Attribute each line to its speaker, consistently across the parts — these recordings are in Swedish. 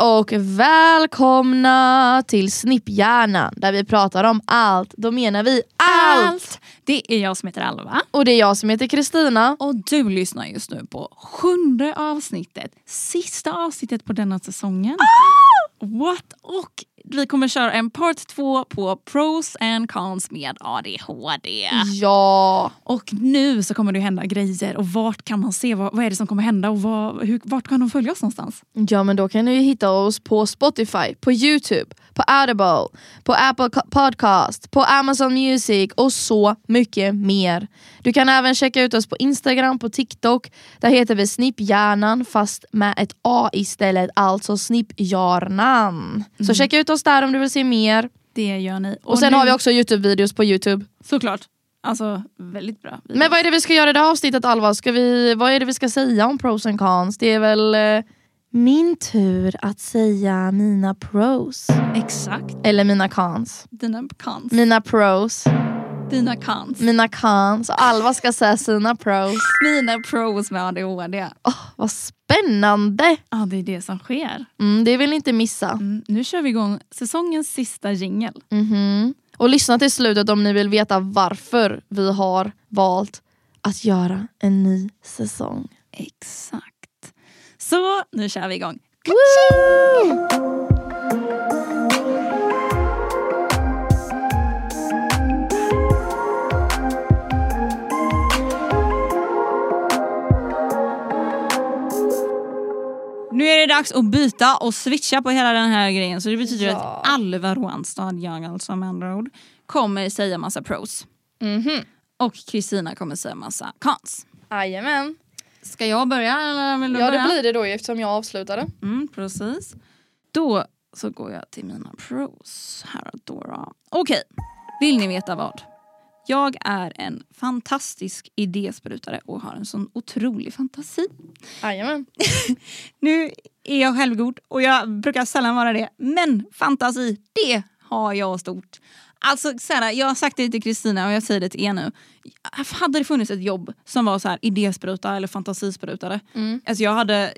Speaker 1: och välkomna till Snipphjärnan där vi pratar om allt. Då menar vi allt!
Speaker 2: Det är jag som heter Alva.
Speaker 1: Och det är jag som heter Kristina.
Speaker 2: Och du lyssnar just nu på sjunde avsnittet. Sista avsnittet på denna säsongen. What? Och vi kommer köra en part två på pros and cons med ADHD.
Speaker 1: Ja,
Speaker 2: Och nu så kommer det hända grejer och vart kan man se vad, vad är det som kommer hända och vad, hur, vart kan de följa oss någonstans?
Speaker 1: ja men då kan ni ju hitta oss på Spotify, på Youtube, på Audible, på Apple Co- Podcast, på Amazon Music och så mycket mer. Du kan även checka ut oss på Instagram, på TikTok. Där heter vi Snipphjärnan fast med ett A istället, alltså Snipphjärnan. Så checka ut oss där om du vill se mer.
Speaker 2: Det gör ni.
Speaker 1: Och sen har vi också Youtube-videos på Youtube.
Speaker 2: Såklart. Alltså väldigt bra.
Speaker 1: Men vad är det vi ska göra i det här avsnittet Alva? Ska vi, vad är det vi ska säga om pros and cons? Det är väl eh, min tur att säga mina pros.
Speaker 2: Exakt.
Speaker 1: Eller mina cons.
Speaker 2: Dina cons.
Speaker 1: Mina pros,
Speaker 2: Dina cons.
Speaker 1: mina cons. Och Alva ska säga sina pros.
Speaker 2: Mina pros med ADHD.
Speaker 1: Vad spännande!
Speaker 2: Ja, det är det som sker.
Speaker 1: Mm, det vill ni inte missa.
Speaker 2: Mm, nu kör vi igång säsongens sista jingel.
Speaker 1: Mhm. Och lyssna till slutet om ni vill veta varför vi har valt att göra en ny säsong.
Speaker 2: Exakt. Så nu kör vi igång. Nu är det dags att byta och switcha på hela den här grejen så det betyder
Speaker 1: Ja.
Speaker 2: att Alva Rånstad, jag alltså med andra ord, kommer säga massa pros.
Speaker 1: Mhm.
Speaker 2: Och Kristina kommer säga massa cons.
Speaker 1: Jajamän.
Speaker 2: Ska jag börja eller vill du
Speaker 1: Ja det
Speaker 2: börja?
Speaker 1: blir det då eftersom jag avslutade.
Speaker 2: Mm, precis. Då så går jag till mina pros här och då. då. Okej, vill ni veta vad? Jag är en fantastisk idésprutare och har en sån otrolig fantasi.
Speaker 1: Jajamän.
Speaker 2: Nu är jag självgod och jag brukar sällan vara det. Men fantasi, det har jag stort. Alltså så här, jag har sagt det till Kristina och jag säger det till er nu. Hade det funnits ett jobb som var så här idéspruta eller fantasisprutare.
Speaker 1: Mm.
Speaker 2: Alltså jag hade,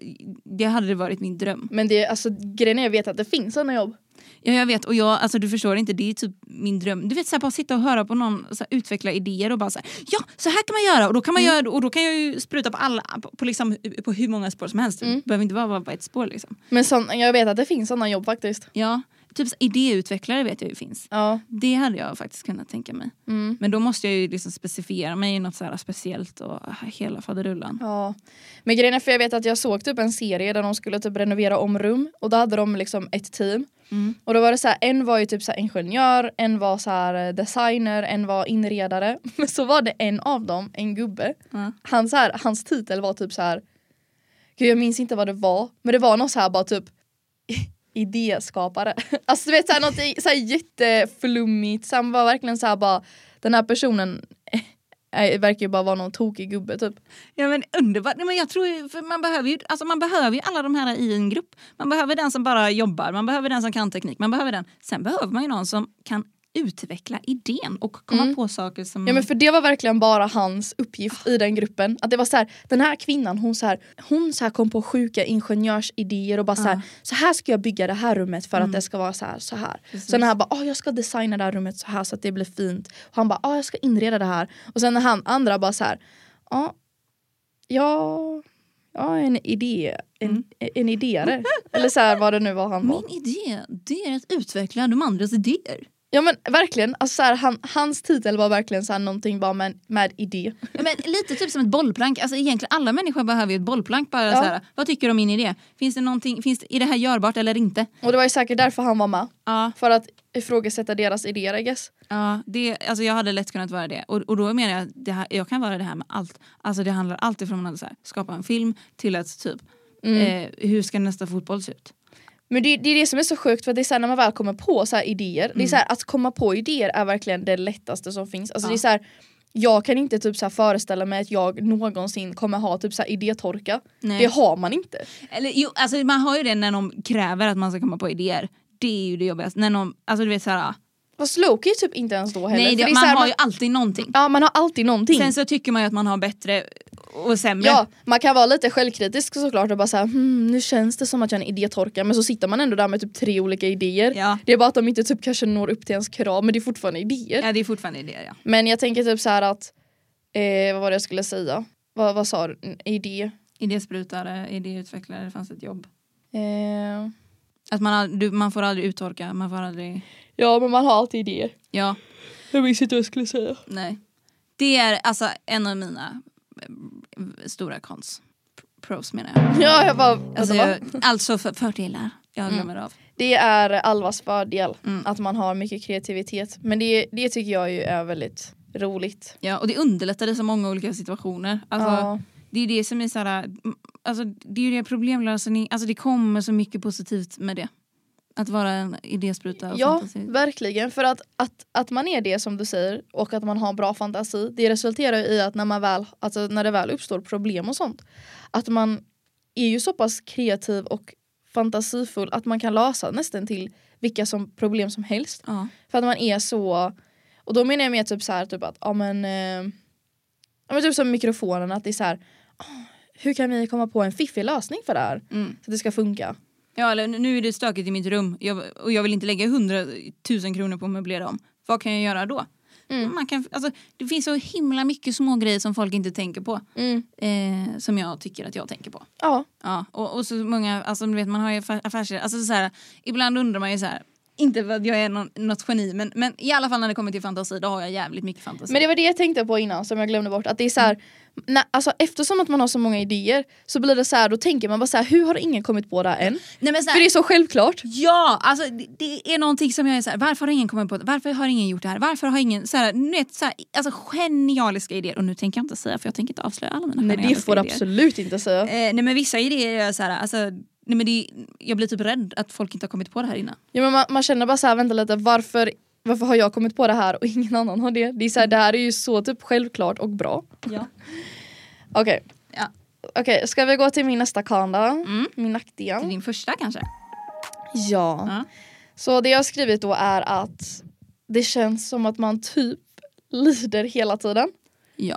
Speaker 2: det hade varit min dröm.
Speaker 1: Men det, alltså, grejen är jag vet att det finns sådana jobb.
Speaker 2: Ja jag vet och jag, alltså, du förstår inte, det är typ min dröm. Du vet så här, bara sitta och höra på någon så här, utveckla idéer och bara så här, ja så här kan man göra och då kan, man göra, och då kan jag ju spruta på alla, på, på, liksom, på hur många spår som helst. Det behöver inte bara vara på ett spår liksom.
Speaker 1: Men sån, jag vet att det finns sådana jobb faktiskt.
Speaker 2: Ja, typ så här, idéutvecklare vet jag ju finns.
Speaker 1: Ja.
Speaker 2: Det hade jag faktiskt kunnat tänka mig.
Speaker 1: Mm.
Speaker 2: Men då måste jag ju liksom specificera mig i något så här speciellt och ah, hela faderullan.
Speaker 1: ja. Men grejen är för jag vet att jag såg typ en serie där de skulle typ renovera om rum och då hade de liksom ett team.
Speaker 2: Mm.
Speaker 1: Och då var det så här, en var ju typ så här ingenjör, en var så här eh, designer, en var inredare. Men så var det en av dem, en gubbe,
Speaker 2: Ja.
Speaker 1: han så här, hans titel var typ så här. Gud jag minns inte vad det var, men det var någon så här bara typ idéskapare. Alltså du vet såhär något i- så här jätteflummigt, så han var verkligen så här bara den här personen eh, verkar ju bara vara någon tokig gubbe typ.
Speaker 2: Ja men underbart. Nej, men jag tror ju- för man, behöver ju, alltså man behöver ju alla de här i en grupp. Man behöver den som bara jobbar, man behöver den som kan teknik, man behöver den. Sen behöver man ju någon som kan utveckla idén och komma
Speaker 1: Mm.
Speaker 2: på saker som...
Speaker 1: Ja men för det var verkligen bara hans uppgift i den gruppen. Att det var så här, den här kvinnan hon så här, hon så här kom på sjuka ingenjörsidéer och bara så här,
Speaker 2: Ja.
Speaker 1: så här ska jag bygga det här rummet för att
Speaker 2: Mm.
Speaker 1: det ska vara så här, så här.
Speaker 2: Precis.
Speaker 1: Sen när han bara, "Ah, jag ska designa det här rummet så här så att det blir fint. Och han bara, "Ah, jag ska inreda det här. Och sen när han andra bara så här, "Ja, ja, ja en idé, en,
Speaker 2: Mm.
Speaker 1: en idéare. Eller så här vad det nu var han var.
Speaker 2: Min idé, det är att utveckla de andras idéer.
Speaker 1: Ja men verkligen, alltså så här, han, hans titel var verkligen så här, någonting bara med, med idé.
Speaker 2: Ja, men lite typ som ett bollplank. Alltså egentligen alla människor behöver ju ett bollplank. Bara
Speaker 1: Ja.
Speaker 2: så här, vad tycker du om min idé? Finns det någonting, finns det, är det här görbart eller inte?
Speaker 1: Och det var ju säkert därför han var med.
Speaker 2: Ja,
Speaker 1: För att ifrågasätta deras idéer I guess.
Speaker 2: Ja, det, alltså jag hade lätt kunnat vara det. Och, och då menar jag att det här, jag kan vara det här med allt. Alltså det handlar alltid från att så här, skapa en film till att typ, eh, hur ska nästa fotboll se ut?
Speaker 1: Men det, det är det som är så sjukt för att det är så här, när man väl kommer på så här idéer, det
Speaker 2: Mm.
Speaker 1: är så här, att komma på idéer är verkligen det lättaste som finns. Alltså
Speaker 2: Ja.
Speaker 1: det är så här, jag kan inte typ så här föreställa mig att jag någonsin kommer ha typ så här idétorka.
Speaker 2: Nej.
Speaker 1: Det har man inte.
Speaker 2: Eller jo, alltså man har ju det när någon kräver att man ska komma på idéer. Det är ju det jobbigaste. När någon, alltså du vet så här,
Speaker 1: Fast Loki är typ inte ens då heller.
Speaker 2: nej,
Speaker 1: för
Speaker 2: det,
Speaker 1: är
Speaker 2: man
Speaker 1: så här,
Speaker 2: har ju alltid någonting.
Speaker 1: ja, man har alltid någonting.
Speaker 2: Sen så tycker man ju att man har bättre och sämre.
Speaker 1: Ja, man kan vara lite självkritisk såklart och bara såhär hmm, nu känns det som att jag är en idétorka men så sitter man ändå där med typ tre olika idéer.
Speaker 2: Ja.
Speaker 1: Det är bara att de inte typ kanske når upp till ens krav men det är fortfarande idéer.
Speaker 2: ja, det är fortfarande idéer. Ja.
Speaker 1: Men jag tänker typ så här att, eh, vad var det jag skulle säga? Vad, vad sa du? En Idé?
Speaker 2: Idésprutare, eh, idéutvecklare, det fanns ett jobb.
Speaker 1: Eh,
Speaker 2: Att man, ald- du, man får aldrig uttorka, man får aldrig...
Speaker 1: ja men man har alltid idéer.
Speaker 2: Ja,
Speaker 1: Jag minns inte vad jag skulle säga.
Speaker 2: nej. Det är alltså en av mina eh, stora cons. P- Pros menar jag.
Speaker 1: Ja jag bara, vänta,
Speaker 2: Alltså,
Speaker 1: va?
Speaker 2: jag, alltså för, fördelar jag
Speaker 1: Mm.
Speaker 2: glömmer av.
Speaker 1: Det är Alvas fördel,
Speaker 2: Mm.
Speaker 1: att man har mycket kreativitet. Men det, det tycker jag ju är väldigt roligt.
Speaker 2: Ja, och det underlättar i så många olika situationer. Alltså,
Speaker 1: ja.
Speaker 2: Det är det som är såhär, mm, alltså, det är ju det problemlösning, alltså det kommer så mycket positivt med det. Att vara en idéspruta och
Speaker 1: ja,
Speaker 2: fantasi.
Speaker 1: verkligen. För att, att, att man är det som du säger och att man har bra fantasi, det resulterar ju i att när, man väl, alltså när det väl uppstår problem och sånt, att man är ju så pass kreativ och fantasifull att man kan lösa nästan till vilka som problem som helst.
Speaker 2: Ja.
Speaker 1: För att man är så, och då menar jag mer typ så här, typ att, ja men, eh, ja, men typ som mikrofonen, att det är så här, "Åh, hur kan vi komma på en fiffig lösning för det här?
Speaker 2: Mm.
Speaker 1: Så att det ska funka.
Speaker 2: ja, eller nu är det stökigt i mitt rum jag, och jag vill inte lägga hundratusen kronor på att möblera om. Vad kan jag göra då?
Speaker 1: Mm.
Speaker 2: Man kan, alltså, det finns så himla mycket små grejer som folk inte tänker på. Eh, som jag tycker att jag tänker på.
Speaker 1: Ja,
Speaker 2: Ja, och, och så många, alltså du vet man har ju affär- affärsidéer, alltså så här, ibland undrar man ju så här, inte för att jag är någon, något geni men, men i alla fall när det kommer till fantasi då har jag jävligt mycket fantasi.
Speaker 1: men det var det jag tänkte på innan som jag glömde bort, att det är så här, när, alltså, eftersom att man har så många idéer så blir det så här, då tänker man bara så här, hur har ingen kommit på det här än?
Speaker 2: Nej, men så
Speaker 1: För det
Speaker 2: här,
Speaker 1: är så självklart.
Speaker 2: Ja, alltså det, det är någonting som jag är så här, varför har ingen kommit på det? Varför har ingen gjort det här? Varför har ingen, så här, ni vet, så här, alltså genialiska idéer och nu tänker jag inte säga för jag tänker inte avslöja alla mina
Speaker 1: Nej det
Speaker 2: genialiska
Speaker 1: får du
Speaker 2: idéer.
Speaker 1: absolut inte säga.
Speaker 2: Eh, nej men vissa idéer är så här, alltså, nej, men det, jag blir typ rädd att folk inte har kommit på det här innan.
Speaker 1: Ja, men man, man känner bara så här, vänta lite, varför, varför har jag kommit på det här och ingen annan har det? Det, är så här, det här är ju så typ självklart och bra.
Speaker 2: Ja.
Speaker 1: Okej.
Speaker 2: Ja.
Speaker 1: Okej, ska vi gå till min nästa kan då?
Speaker 2: Mm.
Speaker 1: Min
Speaker 2: Till
Speaker 1: nackdel.
Speaker 2: din första kanske?
Speaker 1: Ja.
Speaker 2: Ja.
Speaker 1: Så det jag har skrivit då är att det känns som att man typ lider hela tiden.
Speaker 2: Ja.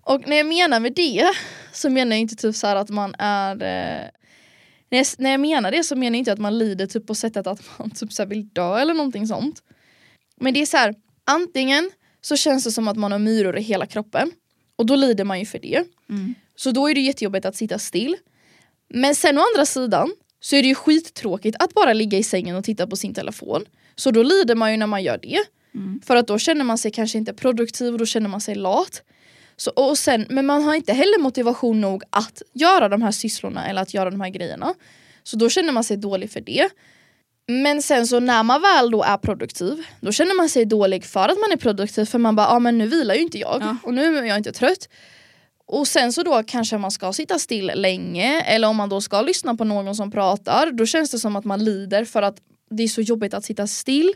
Speaker 1: Och när jag menar med det så menar jag inte typ så här att man är... Eh, när, jag, när jag menar det så menar jag inte att man lider typ på sättet att man typ så här vill dö eller någonting sånt. Men det är så här, antingen så känns det som att man har myror i hela kroppen och då lider man ju för det.
Speaker 2: Mm.
Speaker 1: Så då är det jättejobbigt att sitta still. Men sen å andra sidan så är det ju skittråkigt att bara ligga i sängen och titta på sin telefon. Så då lider man ju när man gör det.
Speaker 2: Mm.
Speaker 1: För att då känner man sig kanske inte produktiv och då känner man sig lat. Så, och sen, men man har inte heller motivation nog att göra de här sysslorna eller att göra de här grejerna. Så då känner man sig dålig för det. Men sen så när man väl då är produktiv, då känner man sig dålig för att man är produktiv för man bara, ja ah, men nu vilar ju inte jag
Speaker 2: Ja.
Speaker 1: och nu är jag inte trött. Och sen så då kanske man ska sitta still länge eller om man då ska lyssna på någon som pratar då känns det som att man lider för att det är så jobbigt att sitta still.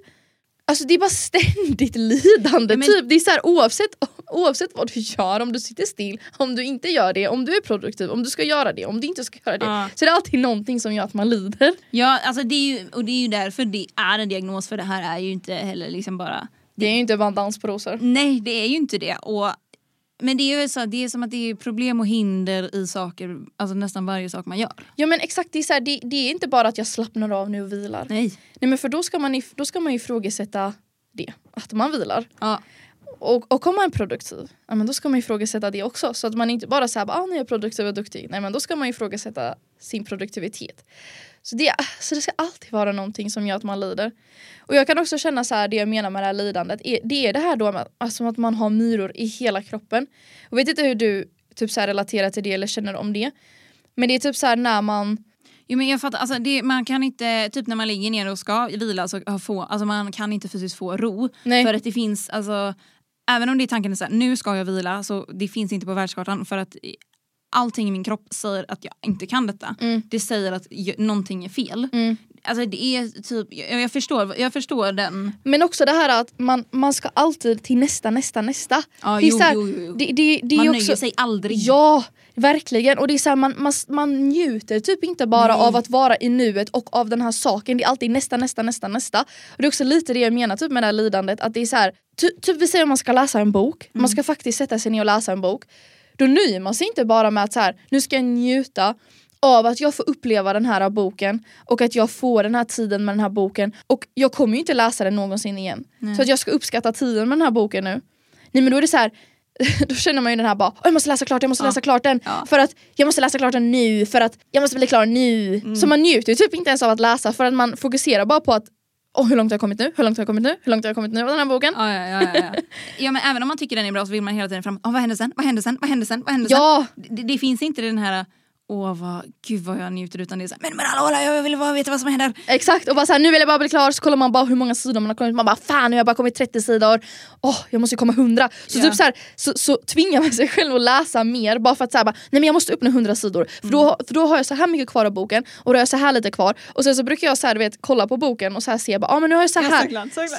Speaker 1: Alltså det är bara ständigt lidande
Speaker 2: Ja, men-
Speaker 1: typ. Det är så här, oavsett, oavsett vad du gör, om du sitter still, om du inte gör det, om du är produktiv, om du ska göra det, om du inte ska göra det.
Speaker 2: Ja.
Speaker 1: Så det är alltid någonting som gör att man lider.
Speaker 2: Ja, alltså det är ju, och det är ju därför det är en diagnos för det här är ju inte heller liksom bara
Speaker 1: Det är ju inte bara en dans på rosor.
Speaker 2: Nej, det är ju inte det. Och, men det är ju så, det är som att det är problem och hinder i saker, alltså nästan varje sak man gör.
Speaker 1: Ja men exakt, det är, så här, det, det är inte bara att jag slappnar av nu och vilar. Nej,
Speaker 2: Nej.
Speaker 1: men för då ska, man, if- då ska man ifrågasätta det, att man vilar.
Speaker 2: Ja,
Speaker 1: Och, och om man är produktiv, ja, men då ska man ifrågasätta det också. Så att man inte bara säger ah, nu är jag produktiv och duktig. Nej men då ska man ifrågasätta sin produktivitet. Så det, så det ska alltid vara någonting som gör att man lider. Och jag kan också känna så här, det jag menar med det här lidandet, är, det är det här då med alltså, att man har myror i hela kroppen. Jag vet inte hur du typ så här, relaterar till det eller känner om det. Men det är typ så här när man,
Speaker 2: jo, men jag fattar, alltså det, man kan inte, typ när man ligger ner och ska vila så har få, alltså man kan inte fysiskt få ro.
Speaker 1: Nej.
Speaker 2: För att det finns, alltså, även om det är tanken är så här, nu ska jag vila så det finns inte på världskartan för att i- allting i min kropp säger att jag inte kan detta.
Speaker 1: Mm.
Speaker 2: Det säger att jag, någonting är fel.
Speaker 1: Mm.
Speaker 2: Alltså det är typ, jag, jag, förstår, jag förstår den.
Speaker 1: men också det här att man, man ska alltid till nästa, nästa, nästa.
Speaker 2: Ja,
Speaker 1: det är
Speaker 2: jo,
Speaker 1: så här,
Speaker 2: jo, jo, jo.
Speaker 1: Det, det, det är
Speaker 2: man
Speaker 1: också,
Speaker 2: nöjer sig aldrig.
Speaker 1: Ja, verkligen. Och det är så här, man, man, man njuter typ inte bara
Speaker 2: Nej.
Speaker 1: av att vara i nuet och av den här saken. Det är alltid nästa, nästa, nästa, nästa. Och det är också lite det jag menar typ med det här
Speaker 2: Mm.
Speaker 1: lidandet. Att det är så här, ty, typ vi säger om man ska läsa en bok, man ska faktiskt sätta sig ner och läsa en bok. då nöjer man sig inte bara med att så här, nu ska jag njuta av att jag får uppleva den här boken och att jag får den här tiden med den här boken och jag kommer ju inte läsa den någonsin igen.
Speaker 2: Nej.
Speaker 1: Så att jag ska uppskatta tiden med den här boken nu. Nej men då är det så här då känner man ju den här bara, "Åh, jag måste läsa klart, jag måste
Speaker 2: Ja.
Speaker 1: läsa klart den
Speaker 2: Ja.
Speaker 1: för att jag måste läsa klart den nu, för att jag måste bli klar nu.
Speaker 2: Mm.
Speaker 1: Så man njuter ju typ inte ens av att läsa för att man fokuserar bara på att Åh, hur långt har jag kommit nu? Hur långt har jag kommit nu? Hur långt har jag kommit nu av den här boken?
Speaker 2: Ja, ja, ja, ja, ja. ja, men även om man tycker den är bra så vill man hela tiden fram, "Ah, vad händer sen, vad händer sen, vad händer sen, vad händer sen?
Speaker 1: Ja,
Speaker 2: Det, det finns inte den här, åh vad, gud vad jag njuter utan det är så här, men men alla, alla jag vill bara veta vad som händer.
Speaker 1: exakt. Och bara så här, nu vill jag bara bli klar. Så kollar man bara hur många sidor man har kommit. Man bara fan, nu har jag bara kommit 30 sidor. Åh, jag måste ju komma 100. Så
Speaker 2: Ja.
Speaker 1: typ så, här, så, så tvingar man sig själv att läsa mer bara för att så här, bara, nej men jag måste uppnå 100 sidor. För, då, för då har jag så här mycket kvar av boken och då har jag så här lite kvar. Och sen så brukar jag så här, du vet, kolla på boken och så här se bara, ah, men nu har jag så här.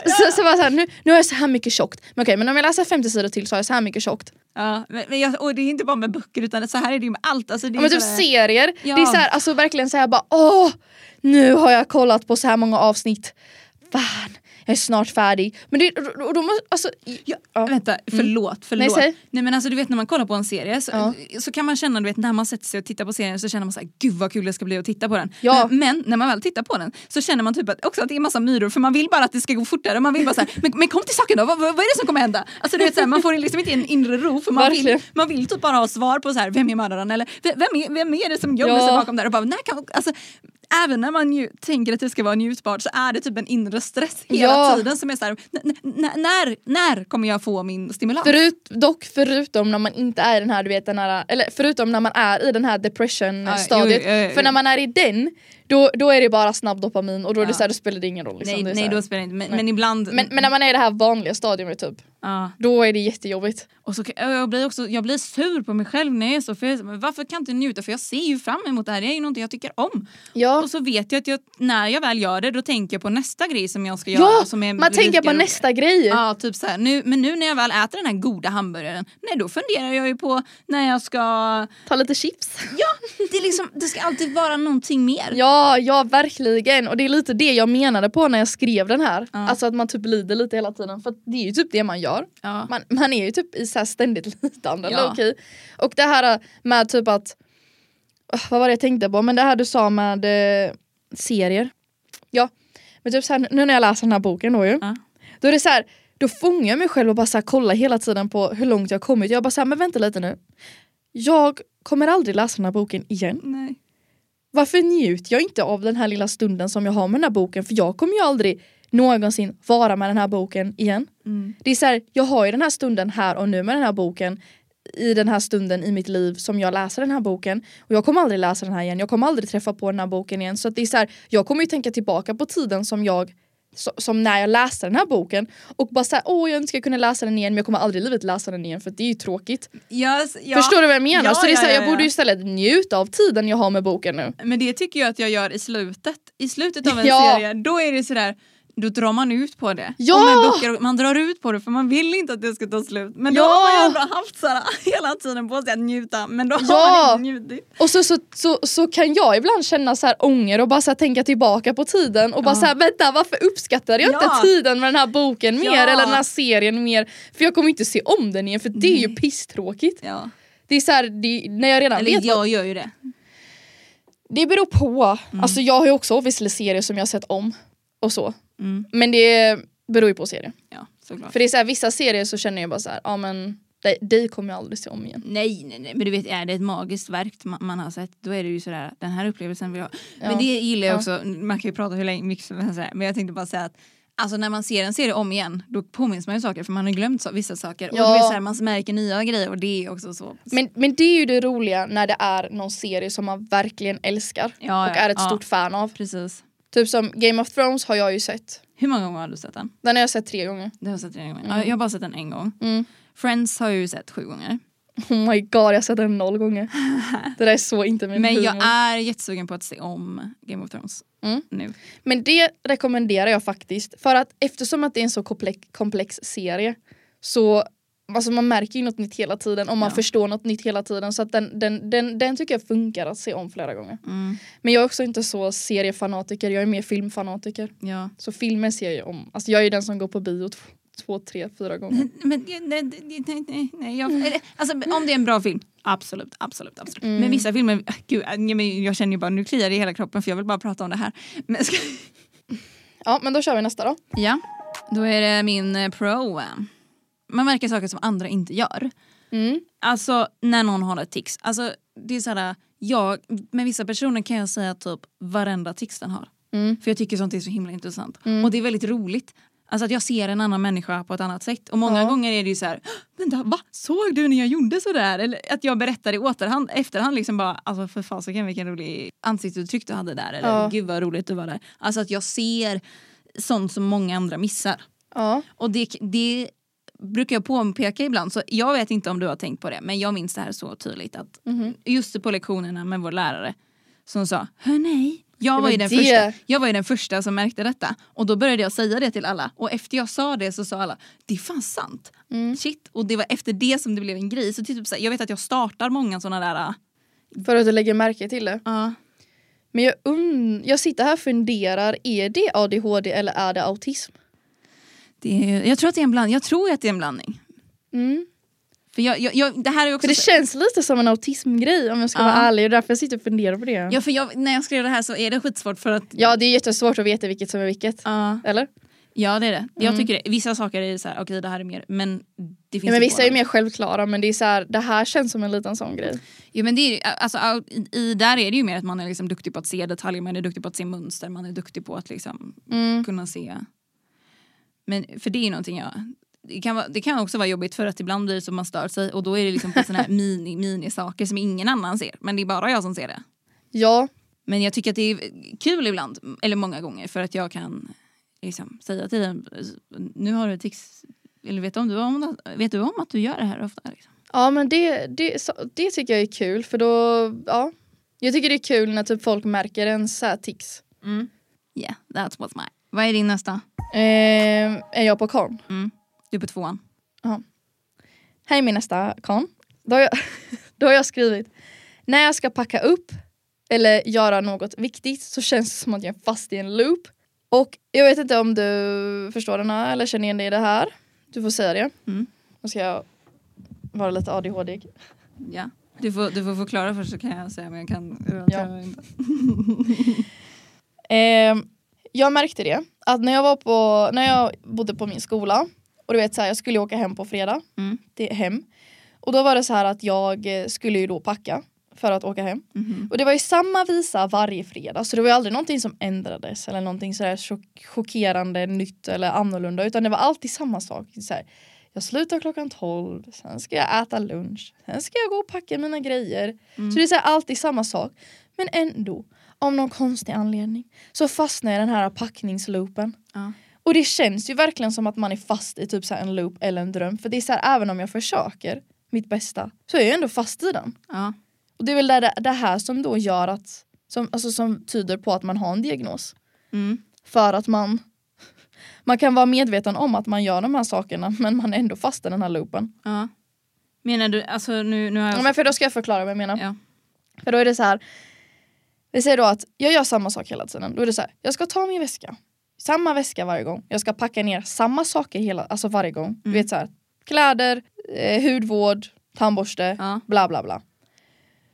Speaker 1: Så, så, bara så här, nu, nu har jag så här mycket tjockt. Men okej, men om jag läser 50 sidor till så har jag så här mycket tjockt.
Speaker 2: Ja, men, men jag, och det är inte bara med böcker utan så här är det ju med allt. Alltså, det
Speaker 1: Ja,
Speaker 2: är
Speaker 1: men
Speaker 2: så
Speaker 1: typ
Speaker 2: här-
Speaker 1: serier.
Speaker 2: Ja.
Speaker 1: Det är så här, alltså verkligen så här bara åh, nu har jag kollat på så här många avsnitt. Fan, jag är snart färdig. Men det, och då måste, alltså, i-
Speaker 2: Ja,
Speaker 1: Ja. Mm.
Speaker 2: Vänta, förlåt. förlåt.
Speaker 1: säg.
Speaker 2: Nej, men alltså, du vet när man kollar på en serie så,
Speaker 1: Ja.
Speaker 2: så kan man känna, du vet när man sätter sig och tittar på serien så känner man så här, gud vad kul det ska bli att titta på den.
Speaker 1: Ja.
Speaker 2: Men, men när man väl tittar på den så känner man typ att, också att det är massa myror för man vill bara att det ska gå fortare. Man vill bara så här, men, men kom till saken då, vad, vad vad är det som kommer hända? Alltså, du vet, så här, man får liksom inte en inre ro för man vill,
Speaker 1: Verkligen.
Speaker 2: man vill typ bara ha svar på så här, vem är mördaren eller "V- vem är, vem är det som gömmer
Speaker 1: Ja.
Speaker 2: sig bakom där? Och bara, när kan, alltså, Även när man ju tänker att det ska vara njutbart så är det typ en inre stress hela
Speaker 1: Ja.
Speaker 2: tiden som är såhär, när, när kommer jag få min stimulans?
Speaker 1: förut, dock förutom när man inte är i den här, du vet, den här, eller förutom när man är i den här depression stadiet.
Speaker 2: Ah, jo, jo, jo, jo.
Speaker 1: För när man är i den, då, då är det bara snabb dopamin och då är det
Speaker 2: Ja.
Speaker 1: så här, då spelar det ingen roll. Liksom.
Speaker 2: nej,
Speaker 1: det är
Speaker 2: nej
Speaker 1: så här.
Speaker 2: då spelar det inte, men, men ibland...
Speaker 1: men, men när man är i det här vanliga stadiet typ,
Speaker 2: ja.
Speaker 1: då är det jättejobbigt.
Speaker 2: och så, kan- jag, blir också, jag blir sur på mig själv när jag är så, för jag, är så, men varför kan jag inte njuta? För jag ser ju fram emot det här, det är ju någonting jag tycker om.
Speaker 1: Ja.
Speaker 2: Och så vet jag att jag, när jag väl gör det då tänker jag på nästa grej som jag ska göra.
Speaker 1: Ja,
Speaker 2: som är
Speaker 1: man tänker
Speaker 2: lika
Speaker 1: på
Speaker 2: rolig.
Speaker 1: nästa grej.
Speaker 2: Ja, typ så här. Nu, men nu när jag väl äter den här goda hamburgaren, nej då funderar jag ju på när jag ska...
Speaker 1: Ta lite chips.
Speaker 2: Det, är liksom, det ska alltid vara någonting mer.
Speaker 1: Ja, ja verkligen. Och det är lite det jag menade på när jag skrev den här.
Speaker 2: Ja.
Speaker 1: Alltså att man typ lider lite hela tiden. För att det är ju typ det man gör.
Speaker 2: Ja.
Speaker 1: Man, man är ju typ i så här ständigt lidande.
Speaker 2: Ja.
Speaker 1: lowkey. Och det här med typ att, Åh, vad var det jag tänkte på? Men det här du sa med eh, serier. Ja, men typ så här, nu när jag läser den här boken då ju.
Speaker 2: Ja.
Speaker 1: Då är det så här, då fångar jag mig själv och bara så här, kollar hela tiden på hur långt jag har kommit. Jag bara så här, men vänta lite nu. Jag kommer aldrig läsa den här boken igen
Speaker 2: Nej.
Speaker 1: varför njuter jag inte av den här lilla stunden som jag har med den här boken? För jag kommer ju aldrig någonsin vara med den här boken igen.
Speaker 2: Mm.
Speaker 1: Det är så här, jag har ju den här stunden här och nu med den här boken i den här stunden i mitt liv som jag läser den här boken och jag kommer aldrig läsa den här igen, jag kommer aldrig träffa på den här boken igen så att det är så här, jag kommer ju tänka tillbaka på tiden som jag so- som när jag läste den här boken och bara såhär åh jag önskar jag kunde läsa den igen men jag kommer aldrig i livet läsa den igen för att det är ju tråkigt.
Speaker 2: Yes, ja.
Speaker 1: Förstår du vad jag menar?
Speaker 2: Ja,
Speaker 1: så det är
Speaker 2: ja,
Speaker 1: så här,
Speaker 2: ja,
Speaker 1: jag borde
Speaker 2: ja.
Speaker 1: ju istället njuta av tiden jag har med boken nu.
Speaker 2: Men det tycker jag att jag gör i slutet. I slutet av en
Speaker 1: Ja.
Speaker 2: serie, då är det sådär då drar man ut på det.
Speaker 1: Ja!
Speaker 2: Och med böcker, man drar ut på det för man vill inte att det ska ta slut. Men då
Speaker 1: Ja!
Speaker 2: har man ju ändå haft såhär, hela tiden på sig att njuta men då har
Speaker 1: Ja!
Speaker 2: man inte njutit.
Speaker 1: Och så, så, så, så kan jag ibland känna så här ånger och bara så här tänka tillbaka på tiden och bara
Speaker 2: Ja.
Speaker 1: så här, vänta varför uppskattade jag
Speaker 2: Ja.
Speaker 1: inte tiden med den här boken mer
Speaker 2: Ja.
Speaker 1: eller den här serien mer för jag kommer inte se om den igen för det är ju
Speaker 2: Nej.
Speaker 1: pisstråkigt.
Speaker 2: Ja.
Speaker 1: Det är så här, det, när jag redan
Speaker 2: Eller
Speaker 1: vet vad,
Speaker 2: jag gör ju det.
Speaker 1: det beror på. Alltså jag har ju också visserligen serier som jag har sett om och så
Speaker 2: Mm.
Speaker 1: men det beror ju på serien.
Speaker 2: Ja, såklart.
Speaker 1: För det är så här, vissa serier så känner jag bara så här, ja men dig- dig kommer jag aldrig se om igen.
Speaker 2: Nej, nej, nej, men du vet är det ett magiskt verk man, man har sett då är det ju sådär den här upplevelsen vill jag ha. Men
Speaker 1: Ja.
Speaker 2: det gillar jag
Speaker 1: Ja.
Speaker 2: också, man kan ju prata hur länge mycket som helst här, men jag tänkte bara säga att Alltså när man ser en serie om igen då påminns man ju saker för man har glömt så, vissa saker och
Speaker 1: Ja.
Speaker 2: du vet, så här, man märker nya grejer och det är också så.
Speaker 1: Men, men det är ju det roliga när det är någon serie som man verkligen älskar
Speaker 2: Ja,
Speaker 1: och
Speaker 2: ja,
Speaker 1: är ett
Speaker 2: ja.
Speaker 1: stort fan av.
Speaker 2: Precis.
Speaker 1: Typ som Game of Thrones har jag ju sett.
Speaker 2: Hur många gånger har du sett den?
Speaker 1: Den har jag sett tre gånger.
Speaker 2: Den har jag sett tre gånger. Ja, jag har bara sett den en gång.
Speaker 1: Mm.
Speaker 2: Friends har jag ju sett sju gånger.
Speaker 1: Oh my god, jag har sett den noll gånger. Det där är så inte min
Speaker 2: Men jag
Speaker 1: humor.
Speaker 2: är jättesugen på att se om Game of Thrones
Speaker 1: Mm.
Speaker 2: nu.
Speaker 1: Men det rekommenderar jag faktiskt. För att eftersom att det är en så komplex, komplex serie så alltså man märker ju något nytt hela tiden om man
Speaker 2: Ja.
Speaker 1: förstår något nytt hela tiden. Så att den, den, den, den tycker jag funkar att se om flera gånger.
Speaker 2: Mm.
Speaker 1: Men jag är också inte så seriefanatiker, jag är mer filmfanatiker.
Speaker 2: Ja.
Speaker 1: Så filmer ser jag ju om. Alltså jag är ju den som går på bio t- två, tre, fyra gånger.
Speaker 2: Men, nej, nej, nej, nej, nej, nej, jag, eller, alltså, om det är en bra film, absolut. absolut, absolut.
Speaker 1: Mm.
Speaker 2: Men vissa filmer, gud, äh, nej, men jag känner ju bara nu kliar det i hela kroppen för jag vill bara prata om det här. Men, ska,
Speaker 1: Ja, men då kör vi nästa då.
Speaker 2: ja, då är det min eh, pro. Man märker saker som andra inte gör.
Speaker 1: Mm.
Speaker 2: Alltså när någon har ett tics. Alltså, det är så här, jag, med vissa personer kan jag säga typ varenda tics den har.
Speaker 1: Mm.
Speaker 2: För jag tycker sånt är så himla intressant.
Speaker 1: Mm.
Speaker 2: Och det är väldigt roligt. Alltså att jag ser en annan människa på ett annat sätt. Och många
Speaker 1: Ja.
Speaker 2: gånger är det ju så här, vänta, va? Såg du när jag gjorde så där? Eller att jag berättar i återhand, efterhand liksom bara, alltså för fasiken vilken rolig ansiktsuttryck du hade där. Eller
Speaker 1: Ja.
Speaker 2: gud vad roligt du var där. Alltså att jag ser sånt som många andra missar.
Speaker 1: Ja.
Speaker 2: Och det, det brukar jag påpeka ibland, så jag vet inte om du har tänkt på det, men jag minns det här så tydligt. Att
Speaker 1: Mhm.
Speaker 2: Just på lektionerna med vår lärare som sa, hör nej. Jag
Speaker 1: Det
Speaker 2: var, ju
Speaker 1: var
Speaker 2: den
Speaker 1: det.
Speaker 2: första, jag var ju den första som märkte detta och då började jag säga det till alla och efter jag sa det så sa alla det är fan sant.
Speaker 1: Mm.
Speaker 2: Shit. Och det var efter det som det blev en grej. Så typ så här, jag vet att jag startar många såna där... äh,
Speaker 1: För att du lägger märke till det.
Speaker 2: Uh,
Speaker 1: Men jag, und- jag sitter här och funderar, är det ADHD eller är det autism?
Speaker 2: det är, jag tror att det är en blandning. Jag tror att det är en blandning.
Speaker 1: Mm.
Speaker 2: För jag, jag, jag, det här är
Speaker 1: För
Speaker 2: också
Speaker 1: det
Speaker 2: så-
Speaker 1: känns lite som en autismgrej om jag ska
Speaker 2: Ja.
Speaker 1: vara ärlig, och därför jag sitter och funderar på det.
Speaker 2: ja, för jag, när jag skrev det här så är det skitsvårt för att...
Speaker 1: Ja, det är jättesvårt att veta vilket som är vilket.
Speaker 2: Ja.
Speaker 1: Eller?
Speaker 2: Ja det är det. Jag tycker det. Vissa saker är så här, okej det här är mer, men det finns
Speaker 1: Mm. Ja, men
Speaker 2: ju
Speaker 1: vissa är ju
Speaker 2: båda.
Speaker 1: mer självklara men det är så här, det här känns som en liten sån grej.
Speaker 2: Jo, men det är, ju- alltså, au- i, i, där är det ju mer att man är liksom duktig på att se detaljer, man är duktig på att se mönster, man är duktig på att liksom kunna se. Men för det är ju någonting jag... Det kan, vara, det kan också vara jobbigt för att ibland blir det som man stör sig och då är det liksom på såna här mini, mini saker som ingen annan ser. Men det är bara jag som ser det.
Speaker 1: Ja,
Speaker 2: Men jag tycker att det är kul ibland, eller många gånger, för att jag kan liksom säga till den, nu har du ett tics, eller vet du om, du om, vet du om att du gör det här ofta? Liksom?
Speaker 1: ja men det, det, så- det tycker jag är kul för då, ja. Jag tycker det är kul när typ folk märker en så här tics.
Speaker 2: Yeah, that's what's mine. Vad är din nästa?
Speaker 1: Eh, är jag på kon?
Speaker 2: Mm. Du är på tvåan.
Speaker 1: Här är min nästa kon. Då har, jag, då har jag skrivit, när jag ska packa upp eller göra något viktigt så känns det som att jag är fast i en loop. Och jag vet inte om du förstår den här eller känner igen dig i det här. Du får säga det.
Speaker 2: Mm.
Speaker 1: Nu ska jag vara lite ADHD.
Speaker 2: Ja. Du, får, du får förklara först så kan jag säga om jag kan relatera eller inte.
Speaker 1: Ehm, jag märkte det, att när jag, var på, när jag bodde på min skola och du vet så här, jag skulle ju åka hem på fredag,
Speaker 2: Mm.
Speaker 1: till hem. Och då var det så här att jag eh, skulle ju då packa för att åka hem.
Speaker 2: Mhm.
Speaker 1: Och det var ju samma visa varje fredag så det var ju aldrig någonting som ändrades eller någonting sådär chock- chockerande nytt eller annorlunda utan det var alltid samma sak. Så här, jag slutar klockan 12, sen ska jag äta lunch, sen ska jag gå och packa mina grejer.
Speaker 2: Mm.
Speaker 1: Så det är så här, alltid samma sak. Men ändå, av någon konstig anledning så fastnar jag i den här packningsloopen.
Speaker 2: Ja.
Speaker 1: Och det känns ju verkligen som att man är fast i typ så här en loop eller en dröm för det är så här, även om jag försöker mitt bästa så är jag ändå fast i den.
Speaker 2: Ja.
Speaker 1: Och det är väl det, det här som då gör att, som, alltså, som tyder på att man har en diagnos.
Speaker 2: Mm.
Speaker 1: För att man, man kan vara medveten om att man gör de här sakerna men man är ändå fast i den här loopen.
Speaker 2: ja. Menar du, alltså nu, nu har jag...
Speaker 1: Ja, men för då ska jag förklara vad jag menar.
Speaker 2: Ja.
Speaker 1: För då är det så här, vi säger då att jag gör samma sak hela tiden. Då är det så här, jag ska ta min väska, samma väska varje gång. Jag ska packa ner samma saker hela, alltså varje gång. Du
Speaker 2: Mm.
Speaker 1: vet så här, kläder, eh, hudvård, tandborste,
Speaker 2: Ja.
Speaker 1: bla bla bla.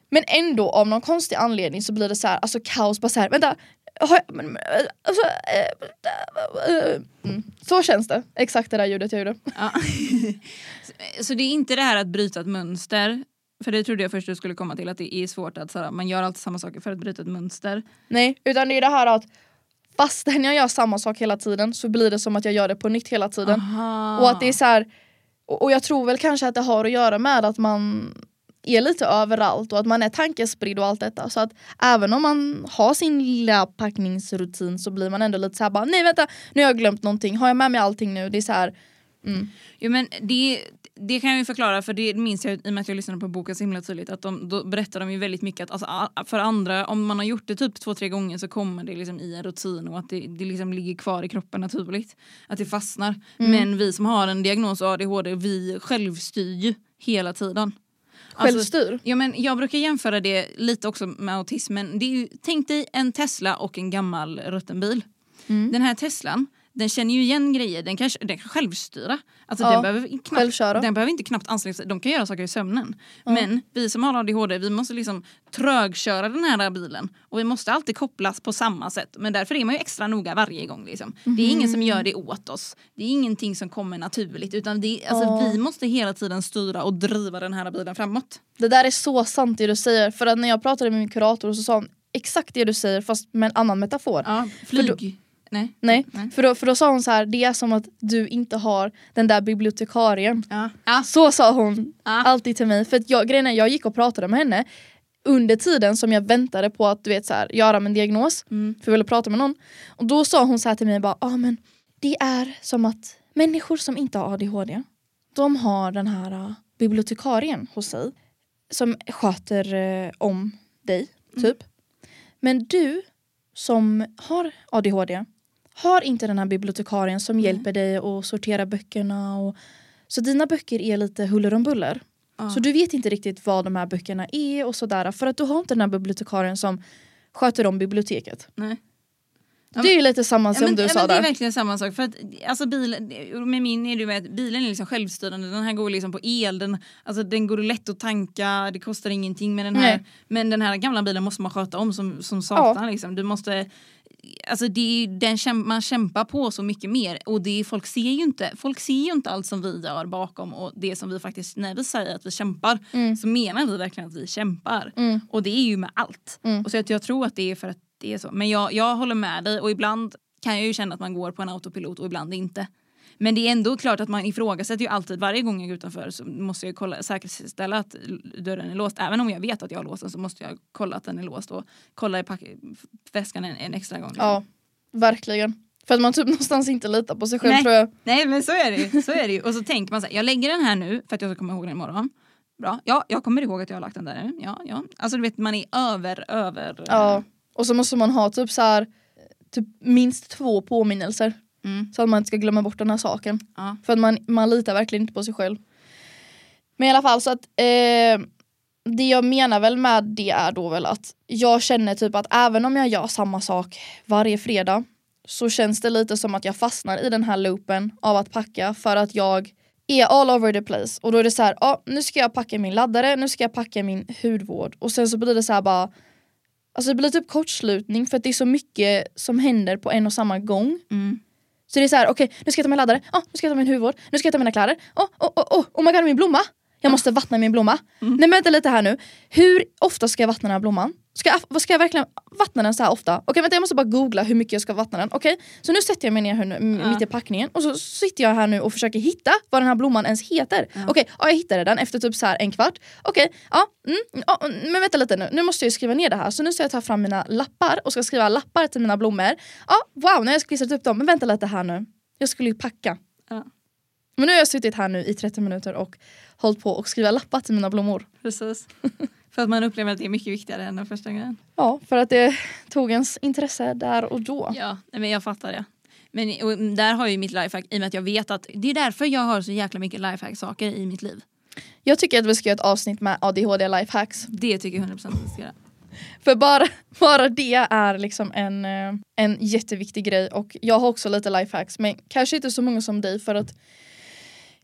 Speaker 1: Men ändå av någon konstig anledning så blir det så här, alltså kaos, bara så här, vänta, har jag, men, men, alltså, eh, eh, mm. Så känns det, exakt det där ljudet jag gjorde.
Speaker 2: Ja. Så- så det är inte det här att bryta ett mönster. För det trodde jag först du skulle komma till, att det är svårt att så här, man gör alltid samma saker för att bryta ett mönster.
Speaker 1: Nej, utan det är det här att fastän jag gör samma sak hela tiden så blir det som att jag gör det på nytt hela tiden.
Speaker 2: Aha.
Speaker 1: Och att det är så här, och, och jag tror väl kanske att det har att göra med att man är lite överallt och att man är tankespridd och allt detta. Så att även om man har sin lilla packningsrutin så blir man ändå lite så här bara nej vänta nu har jag glömt någonting, har jag med mig allting nu? Det är så här, mm.
Speaker 2: Jo, men det, det kan jag ju förklara, för det minns jag i och med att jag lyssnade på boken så himla tydligt. Att de, då berättar de ju väldigt mycket att alltså, a- för andra, om man har gjort det typ två, tre gånger så kommer det liksom i en rutin och att det, det liksom ligger kvar i kroppen naturligt. Att det fastnar. Men vi som har en diagnos ADHD, vi självstyr ju hela tiden. Alltså,
Speaker 1: självstyr.
Speaker 2: Ja, men jag brukar jämföra det lite också med
Speaker 1: Mm.
Speaker 2: autismen. Det är ju, tänk dig en Tesla och en gammal rutten bil. Den här Teslan den känner ju igen grejer, den kan, den kan självstyra. Alltså,
Speaker 1: Ja,
Speaker 2: den, behöver knappt,
Speaker 1: självköra.
Speaker 2: den behöver inte knappt anstränga sig, de kan göra saker i sömnen. Men vi som har ADHD vi måste liksom trögköra den här bilen och vi måste alltid kopplas på samma sätt. Men därför är man ju extra noga varje gång. Liksom. Det är ingen som
Speaker 1: Mhm.
Speaker 2: gör det åt oss, det är ingenting som kommer naturligt utan det, alltså,
Speaker 1: Ja.
Speaker 2: vi måste hela tiden styra och driva den här bilen framåt.
Speaker 1: Det där är så sant det du säger, för att när jag pratade med min kurator så sa hon exakt det du säger fast med en annan metafor.
Speaker 2: Ja,
Speaker 1: då-
Speaker 2: flyg... Nej.
Speaker 1: Nej,
Speaker 2: Ah. Nej.
Speaker 1: För, då, för då sa hon så här, det är som att du inte har den där bibliotekarien.
Speaker 2: Ja. Ja.
Speaker 1: Så sa hon
Speaker 2: Ja.
Speaker 1: alltid till mig, för att jag, grejen är, jag gick och pratade med henne under tiden som jag väntade på att du vet, så här, göra min diagnos,
Speaker 2: Mm.
Speaker 1: för jag ville prata med någon. Och då sa hon så här till mig, bara, ah, men det är som att människor som inte har ADHD, de har den här uh, bibliotekarien hos sig som sköter eh, om dig, typ. Men du som har ADHD har inte den här bibliotekarien som hjälper dig att sortera böckerna. Och, så dina böcker är lite huller om buller.
Speaker 2: Ja.
Speaker 1: Så du vet inte riktigt vad de här böckerna är och sådär. För att du har inte den här bibliotekarien som sköter om biblioteket.
Speaker 2: Nej.
Speaker 1: det är ju lite samma
Speaker 2: Ja,
Speaker 1: som
Speaker 2: men,
Speaker 1: du
Speaker 2: ja,
Speaker 1: sa
Speaker 2: men Det är
Speaker 1: där.
Speaker 2: verkligen samma sak. För att, alltså, bilen, med min är det ju med att bilen är liksom självstyrande, den här går liksom på el, den, alltså, den går lätt att tanka, det kostar ingenting. Men den här,
Speaker 1: Nej.
Speaker 2: men den här gamla bilen måste man sköta om som, som satan. Liksom. Du måste, alltså, det är ju den käm, man kämpar på så mycket mer och det är, folk, ser ju inte, folk ser ju inte allt som vi gör bakom och det som vi faktiskt, när vi säger att vi kämpar
Speaker 1: Mm.
Speaker 2: så menar vi verkligen att vi kämpar.
Speaker 1: Mm.
Speaker 2: Och det är ju med allt.
Speaker 1: Mm.
Speaker 2: Och så att jag tror att det är för att det är så. Men jag, jag håller med dig och ibland kan jag ju känna att man går på en autopilot och ibland inte. Men det är ändå klart att man ifrågasätter ju alltid varje gång jag är utanför så måste jag ju kolla, säkerställa att dörren är låst. Även om jag vet att jag har låst den så måste jag kolla att den är låst och kolla i pack- väskan en, en extra gång.
Speaker 1: Ja, verkligen. För att man typ någonstans inte litar på sig själv
Speaker 2: Nej.
Speaker 1: tror jag.
Speaker 2: Nej men så är det ju. Så är det ju. Och så tänker man så här, jag lägger den här nu för att jag ska komma ihåg den imorgon. Bra, ja jag kommer ihåg att jag har lagt den där nu. Ja, ja. Alltså du vet man är över, över.
Speaker 1: Ja. Och så måste man ha typ så här, typ minst två påminnelser.
Speaker 2: Mm.
Speaker 1: Så att man inte ska glömma bort den här saken.
Speaker 2: Ja.
Speaker 1: För att man, man litar verkligen inte på sig själv. Men i alla fall så att eh, det jag menar väl med det är då väl att jag känner typ att även om jag gör samma sak varje fredag så känns det lite som att jag fastnar i den här loopen av att packa för att jag är all over the place och då är det så här, ja nu ska jag packa min laddare, nu ska jag packa min hudvård och sen så blir det så här bara Alltså det blir typ kortslutning för att det är så mycket som händer på en och samma gång.
Speaker 2: Mm.
Speaker 1: Så det är så här, okej nu ska jag ta min laddare, ah, nu ska jag ta min hudvård, nu ska jag ta mina kläder, oh, oh, oh, oh, oh my god min blomma! Jag måste vattna min blomma.
Speaker 2: Mm.
Speaker 1: Nej men vänta lite här nu, hur ofta ska jag vattna den här blomman? Ska jag, vad ska jag verkligen vattna den så här ofta? Okej vänta jag måste bara googla hur mycket jag ska vattna den. Okej, så nu sätter jag mig ner här nu, m-
Speaker 2: Ja.
Speaker 1: mitt i packningen och så sitter jag här nu och försöker hitta vad den här blomman ens heter. Okej, ja, jag hittade den efter typ så här en kvart. Okej, ja, mm, ja, mm, men vänta lite nu, nu måste jag ju skriva ner det här. Så nu ska jag ta fram mina lappar och ska skriva lappar till mina blommor. Ja, wow, nu har jag klistrat upp dem, men vänta lite här nu. Jag skulle ju packa.
Speaker 2: Ja.
Speaker 1: Men nu har jag suttit här nu i 30 minuter och hållit på och skriva lappar till mina blommor.
Speaker 2: Precis. För att man upplever att det är mycket viktigare än den första grejen.
Speaker 1: Ja, för att det tog ens intresse där och då.
Speaker 2: Ja, nej, men jag fattar det. Men och där har jag ju mitt lifehack i och med att jag vet att det är därför jag har så jäkla mycket lifehack-saker i mitt liv.
Speaker 1: Jag tycker att vi ska göra ett avsnitt med ADHD lifehacks.
Speaker 2: Det tycker jag 100% att vi ska göra.
Speaker 1: För bara, bara det är liksom en, eh, en jätteviktig grej och jag har också lite lifehacks men kanske inte så många som dig för att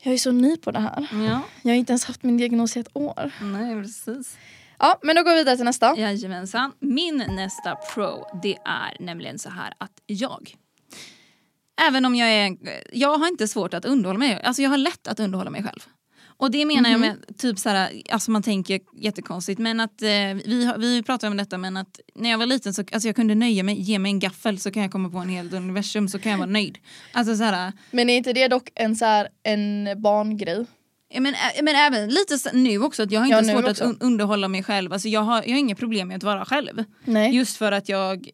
Speaker 1: jag är så ny på det här.
Speaker 2: Ja,
Speaker 1: Jag har inte ens haft min diagnos i ett år.
Speaker 2: nej precis.
Speaker 1: Ja, men då går vi vidare till nästa.
Speaker 2: Jajamensan. Min nästa pro det är nämligen så här att jag Även om jag är, jag har inte svårt att underhålla mig, alltså jag har lätt att underhålla mig själv. Och det menar
Speaker 1: Mhm.
Speaker 2: jag med, typ så här, alltså man tänker jättekonstigt men att eh, vi, har- vi pratade om detta men att när jag var liten så alltså jag kunde nöja mig, ge mig en gaffel så kan jag komma på en hel universum så kan jag vara nöjd. Alltså så här,
Speaker 1: Men är inte det dock en, så här, en barngrej?
Speaker 2: Ja, Men, ä- men även lite s- nu också, att jag har inte
Speaker 1: Ja, nu
Speaker 2: svårt
Speaker 1: också.
Speaker 2: att un- underhålla mig själv. Alltså, jag, har, jag har inga problem med att vara själv.
Speaker 1: Nej.
Speaker 2: Just för att jag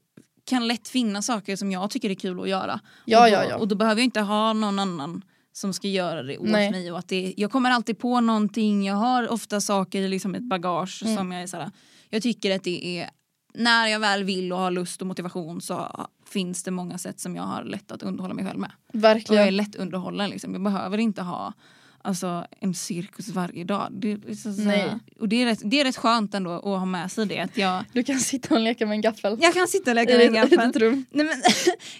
Speaker 2: kan lätt finna saker som jag tycker är kul att göra.
Speaker 1: Ja,
Speaker 2: och, då,
Speaker 1: ja, ja.
Speaker 2: och då behöver jag inte ha någon annan som ska göra det åt
Speaker 1: Nej.
Speaker 2: mig. Och att det, jag kommer alltid på någonting, jag har ofta saker i liksom ett bagage
Speaker 1: Mm.
Speaker 2: som jag är såhär, jag tycker att det är när jag väl vill och har lust och motivation så finns det många sätt som jag har lätt att underhålla mig själv med. Och
Speaker 1: Verkligen.
Speaker 2: jag är lätt underhållen. Liksom. Jag behöver inte ha alltså, en cirkus varje dag. Det, är liksom så
Speaker 1: Nej.
Speaker 2: här- Och det, är rätt, det är rätt skönt ändå att ha med sig det. Att jag,
Speaker 1: Du kan sitta och leka med en gaffel.
Speaker 2: jag kan sitta och leka
Speaker 1: I
Speaker 2: med en
Speaker 1: ett- ett
Speaker 2: gaffel.
Speaker 1: litet rum.
Speaker 2: Nej, men,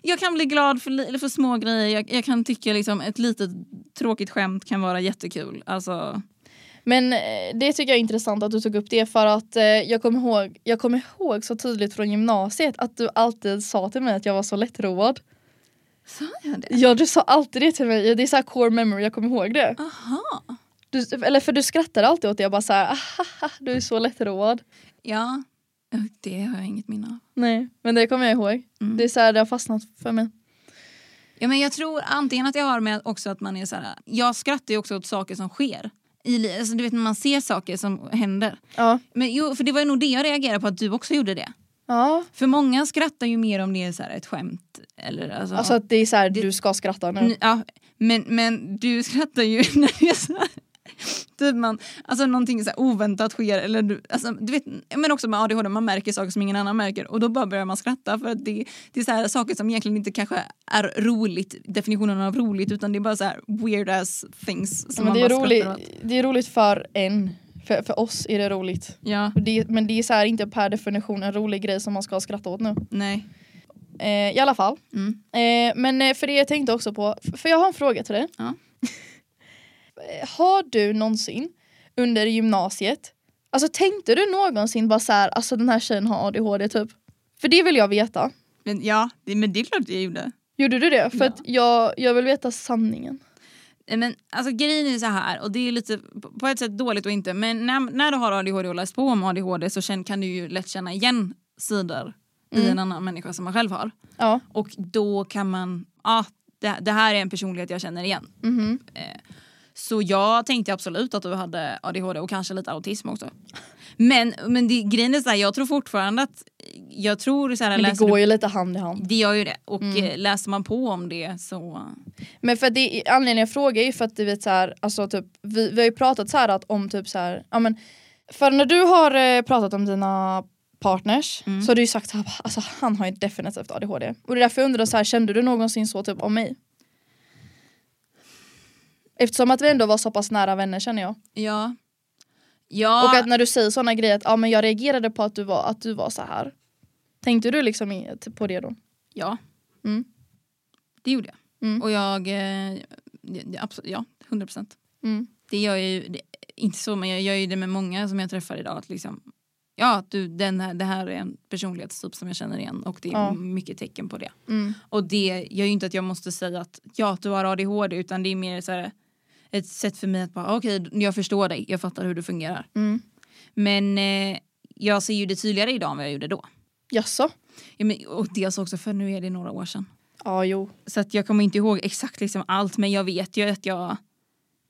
Speaker 2: jag kan bli glad för, li- för små grejer. Jag, jag kan tycka liksom ett litet tråkigt skämt kan vara jättekul. Alltså,
Speaker 1: Men eh, det tycker jag är intressant att du tog upp det för att eh, jag kommer ihåg, jag kommer ihåg så tydligt från gymnasiet att du alltid sa till mig att jag var så lättroad.
Speaker 2: sa jag det?
Speaker 1: Ja du sa alltid det till mig, det är så här core memory, jag kommer ihåg det.
Speaker 2: Aha.
Speaker 1: Du, eller för du skrattar alltid åt det, jag bara såhär ahaha du är så lättroad.
Speaker 2: Ja, det har jag inget minne av.
Speaker 1: Nej men det kommer jag ihåg.
Speaker 2: Mm.
Speaker 1: Det är så här, det har fastnat för mig.
Speaker 2: Ja, men jag tror antingen att det har med också att man är så här... Jag skrattar ju också åt saker som sker. I, li- alltså, du vet när man ser saker som händer.
Speaker 1: Ja.
Speaker 2: Men jo, för det var ju nog det jag reagerade på att du också gjorde det.
Speaker 1: ja.
Speaker 2: För många skrattar ju mer om det är så här ett skämt. Eller, alltså,
Speaker 1: Alltså att det är såhär,
Speaker 2: Det-
Speaker 1: du ska skratta nu.
Speaker 2: N- Ja, men, men du skrattar ju när det är så här. Typ man, alltså någonting så här oväntat sker eller du, alltså, du vet, men också med ADHD, man märker saker som ingen annan märker och då bara börjar man skratta för att det, det är så här saker som egentligen inte kanske är roligt, definitionen av roligt utan det är bara så här weird ass things
Speaker 1: Ja,
Speaker 2: som
Speaker 1: men
Speaker 2: man
Speaker 1: det, är
Speaker 2: bara
Speaker 1: roligt,
Speaker 2: skrattar åt.
Speaker 1: det är roligt för en, för, för oss är det roligt.
Speaker 2: Ja,
Speaker 1: Och Det, men det är så här inte per definition en rolig grej som man ska skratta åt nu.
Speaker 2: nej.
Speaker 1: Eh, I alla fall.
Speaker 2: Mm.
Speaker 1: Eh, men eh, för det jag tänkte också på, f- för jag har en fråga till dig.
Speaker 2: Ja.
Speaker 1: Eh, har du någonsin under gymnasiet, alltså tänkte du någonsin bara så här, alltså den här tjejen har ADHD typ? För det vill jag veta.
Speaker 2: Men ja, det, men det är klart jag gjorde.
Speaker 1: Gjorde du det? För
Speaker 2: Ja.
Speaker 1: att jag, jag vill veta sanningen.
Speaker 2: Nej, Men alltså grejen är så här, och det är lite på- på ett sätt dåligt och inte, men när, när du har ADHD och läst på om ADHD så känn, kan du ju lätt känna igen sidor i
Speaker 1: Mm.
Speaker 2: en annan människa som man själv har.
Speaker 1: Ja.
Speaker 2: Och då kan man, ja det, det här är en personlighet jag känner igen. Eh,
Speaker 1: Mhm.
Speaker 2: Så jag tänkte absolut att du hade ADHD och kanske lite autism också. Men, men det, grejen är så här, jag tror fortfarande att, jag tror så här,
Speaker 1: Men det
Speaker 2: läser
Speaker 1: går
Speaker 2: du,
Speaker 1: ju lite hand i hand.
Speaker 2: det gör ju det. Och
Speaker 1: Mm.
Speaker 2: eh, läser man på om det så,
Speaker 1: Men för att det, anledningen jag frågar är ju för att du vet så här, alltså typ, vi, vi har ju pratat så här att om typ så här, ja men för när du har eh, pratat om dina partners
Speaker 2: Mm.
Speaker 1: så har du ju sagt så här, bara, alltså han har ju definitivt ADHD. Och det är därför jag undrar så här, kände du någonsin så typ om mig? Eftersom att vi ändå var så pass nära vänner känner jag.
Speaker 2: ja. Ja.
Speaker 1: Och att när du säger sådana grejer att ja men jag reagerade på att du var, att du var så här. Tänkte du liksom i- på det då?
Speaker 2: Ja.
Speaker 1: Mm.
Speaker 2: Det gjorde jag.
Speaker 1: Mm.
Speaker 2: Och jag... eh, det- det- Absolut, ja, 100 procent.
Speaker 1: Mm.
Speaker 2: Det gör jag ju... Det, inte så, men jag gör ju det med många som jag träffar idag. Att liksom, ja, att du, den här, det här är en personlighetstyp som jag känner igen och det är
Speaker 1: Ja.
Speaker 2: mycket tecken på det.
Speaker 1: Mm.
Speaker 2: Och det gör ju inte att jag måste säga att ja, du har ADHD utan det är mer så här, ett sätt för mig att bara okej, jag förstår dig, jag fattar hur du fungerar.
Speaker 1: Mm.
Speaker 2: Men eh, jag ser ju det tydligare idag än vad jag gjorde då.
Speaker 1: Jaså?
Speaker 2: Ja, men, och dels också för nu är det några år sedan.
Speaker 1: Ja jo.
Speaker 2: Så att jag kommer inte ihåg exakt liksom allt men jag vet ju att jag,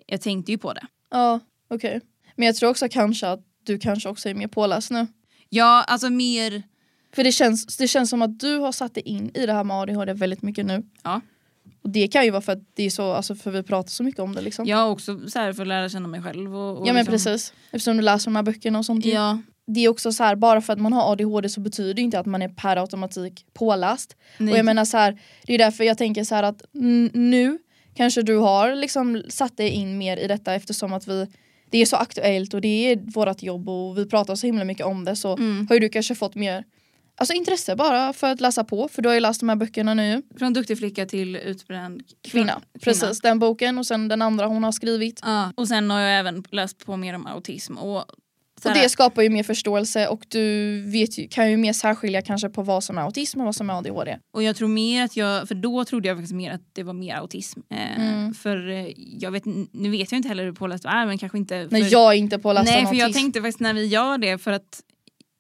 Speaker 2: jag tänkte ju på det.
Speaker 1: Ja, okej. Men jag tror också kanske att du kanske också är mer påläst nu.
Speaker 2: Ja, alltså mer...
Speaker 1: För det känns, det känns som att du har satt dig in i det här med ADHD väldigt mycket nu.
Speaker 2: Ja.
Speaker 1: Och det kan ju vara för att det är så, alltså för vi pratar så mycket om det liksom.
Speaker 2: Jag har också så här för att lära känna mig själv. Och, och
Speaker 1: ja men
Speaker 2: liksom-
Speaker 1: precis. Mm. Eftersom du läser de här böckerna och sånt. ju.
Speaker 2: Ja,
Speaker 1: Det är också så här, bara för att man har ADHD så betyder det inte att man är per automatik påläst.
Speaker 2: nej.
Speaker 1: Och jag menar så här, det är därför jag tänker så här att n- nu kanske du har liksom satt dig in mer i detta eftersom att vi det är så aktuellt och det är vårt jobb och vi pratar så himla mycket om det så
Speaker 2: Mm.
Speaker 1: har ju du kanske fått mer alltså intresse bara för att läsa på för du har ju läst de här böckerna nu.
Speaker 2: Från duktig flicka till utbränd
Speaker 1: Kvinna, precis den boken och sen den andra hon har skrivit.
Speaker 2: Ja. Och sen har jag även läst på mer om autism. Och, så
Speaker 1: Och
Speaker 2: här,
Speaker 1: det skapar ju mer förståelse och du vet ju, kan ju mer särskilja kanske på vad som är autism och vad som är ADHD.
Speaker 2: och jag tror mer att jag, för då trodde jag faktiskt mer att det var mer autism. Eh,
Speaker 1: Mm.
Speaker 2: För eh, jag vet, nu vet jag inte heller hur påläst du är men kanske inte...
Speaker 1: Nej
Speaker 2: för-
Speaker 1: jag är inte påläst
Speaker 2: Nej,
Speaker 1: om
Speaker 2: för jag
Speaker 1: autism.
Speaker 2: tänkte faktiskt när vi gör det för att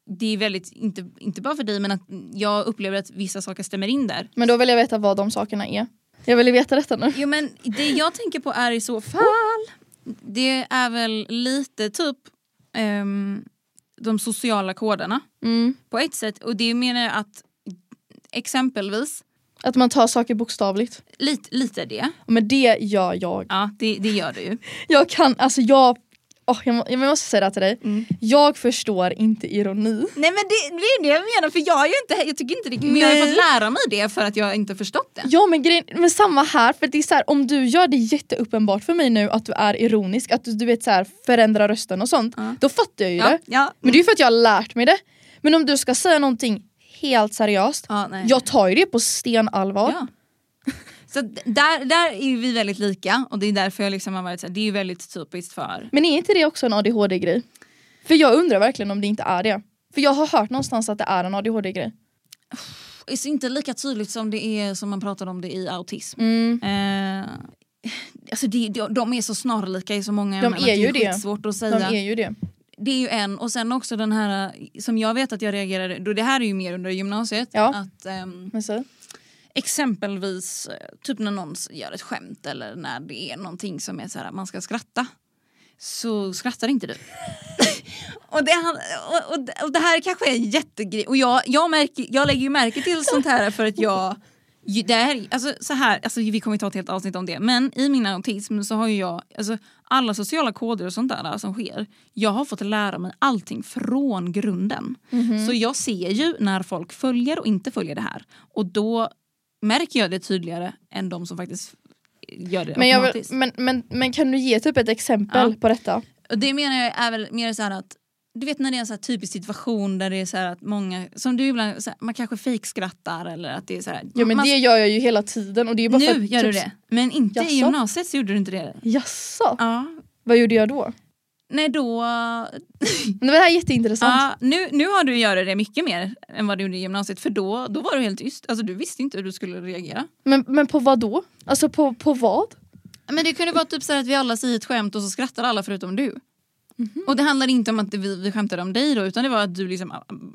Speaker 2: det är väldigt, inte, inte bara för dig men att jag upplever att vissa saker stämmer in där.
Speaker 1: Men då vill jag veta vad de sakerna är. Jag vill veta detta nu.
Speaker 2: Jo men det jag tänker på är i så fall, det är väl lite typ ehm, de sociala koderna
Speaker 1: Mm.
Speaker 2: på ett sätt och det menar jag att exempelvis,
Speaker 1: Att man tar saker bokstavligt.
Speaker 2: lite, lite det,
Speaker 1: Men det gör jag.
Speaker 2: ja det, det gör du ju.
Speaker 1: Jag kan, alltså jag åh, jag, må, jag måste säga det här till dig,
Speaker 2: Mm.
Speaker 1: jag förstår inte ironi.
Speaker 2: Nej men det, det är det jag menar för jag är ju inte, jag tycker inte det, men jag har ju
Speaker 1: Nej.
Speaker 2: fått lära mig det för att jag inte förstått det.
Speaker 1: Ja men, grejen, men samma här, för det är så här, om du gör det jätteuppenbart för mig nu att du är ironisk, att du, du vet så här, förändrar rösten och sånt,
Speaker 2: Ja.
Speaker 1: då fattar jag ju
Speaker 2: Ja,
Speaker 1: det.
Speaker 2: ja,
Speaker 1: Men det är ju för att jag har lärt mig det. Men om du ska säga någonting helt seriöst,
Speaker 2: ja, nej.
Speaker 1: jag tar ju det på stenallvar.
Speaker 2: Ja. Så d- där, där är ju vi väldigt lika och det är därför jag liksom har varit så här, det är ju väldigt typiskt för...
Speaker 1: Men är inte det också en ADHD-grej? För jag undrar verkligen om det inte är det. För jag har hört någonstans att det är en ADHD-grej.
Speaker 2: Det är inte lika tydligt som det är som man pratar om det i autism.
Speaker 1: Mm.
Speaker 2: Eh, alltså det, de, de är så snarlika i så många
Speaker 1: De
Speaker 2: ämnen att
Speaker 1: är ju det.
Speaker 2: svårt att
Speaker 1: De
Speaker 2: säga.
Speaker 1: är ju det.
Speaker 2: Det är ju en och sen också den här eh, som jag vet att jag reagerade, då det här är ju mer under gymnasiet,
Speaker 1: Ja.
Speaker 2: att ehm,
Speaker 1: Men så.
Speaker 2: exempelvis eh, typ när någon s- gör ett skämt eller när det är någonting som är så här man ska skratta så skrattar inte du. och, det, han- och, och, det- och det här kanske är en jättegrej och jag, jag, märker, jag lägger ju märke till sånt här för att jag ju- det här, alltså, så här, alltså, vi kommer ju ta ett helt avsnitt om det men i min autism så har ju jag alltså, alla sociala koder och sånt där som sker jag har fått lära mig allting från grunden. Mhm. Så jag ser ju när folk följer och inte följer det här och då märker jag det tydligare än de som faktiskt gör det
Speaker 1: Men, jag vill,
Speaker 2: automatiskt.
Speaker 1: men, men, men kan du ge typ ett exempel
Speaker 2: Ja.
Speaker 1: på detta?
Speaker 2: Och det menar jag är väl mer så här att du vet när det är en så här typisk situation där det är så här att många, som du ibland, så här, man kanske fejkskrattar eller att det är så här.
Speaker 1: Jo men
Speaker 2: man,
Speaker 1: det gör jag ju hela tiden och det är bara för
Speaker 2: nu
Speaker 1: att,
Speaker 2: gör du
Speaker 1: typ-
Speaker 2: det, men inte
Speaker 1: Jaså?
Speaker 2: i gymnasiet så gjorde du inte det.
Speaker 1: Jasså?
Speaker 2: Ja.
Speaker 1: Vad gjorde jag då?
Speaker 2: Nej då,
Speaker 1: Men det här är jätteintressant.
Speaker 2: ja, nu, nu har du gjort det mycket mer än vad du gjorde i gymnasiet för då, då var du helt tyst, alltså du visste inte hur du skulle reagera.
Speaker 1: Men, men på vad då? Alltså på, på vad?
Speaker 2: Men det kunde vara typ så här att vi alla säger ett skämt och så skrattar alla förutom du.
Speaker 1: Mhm.
Speaker 2: Och det handlar inte om att vi, vi skämtade om dig då utan det var att du liksom,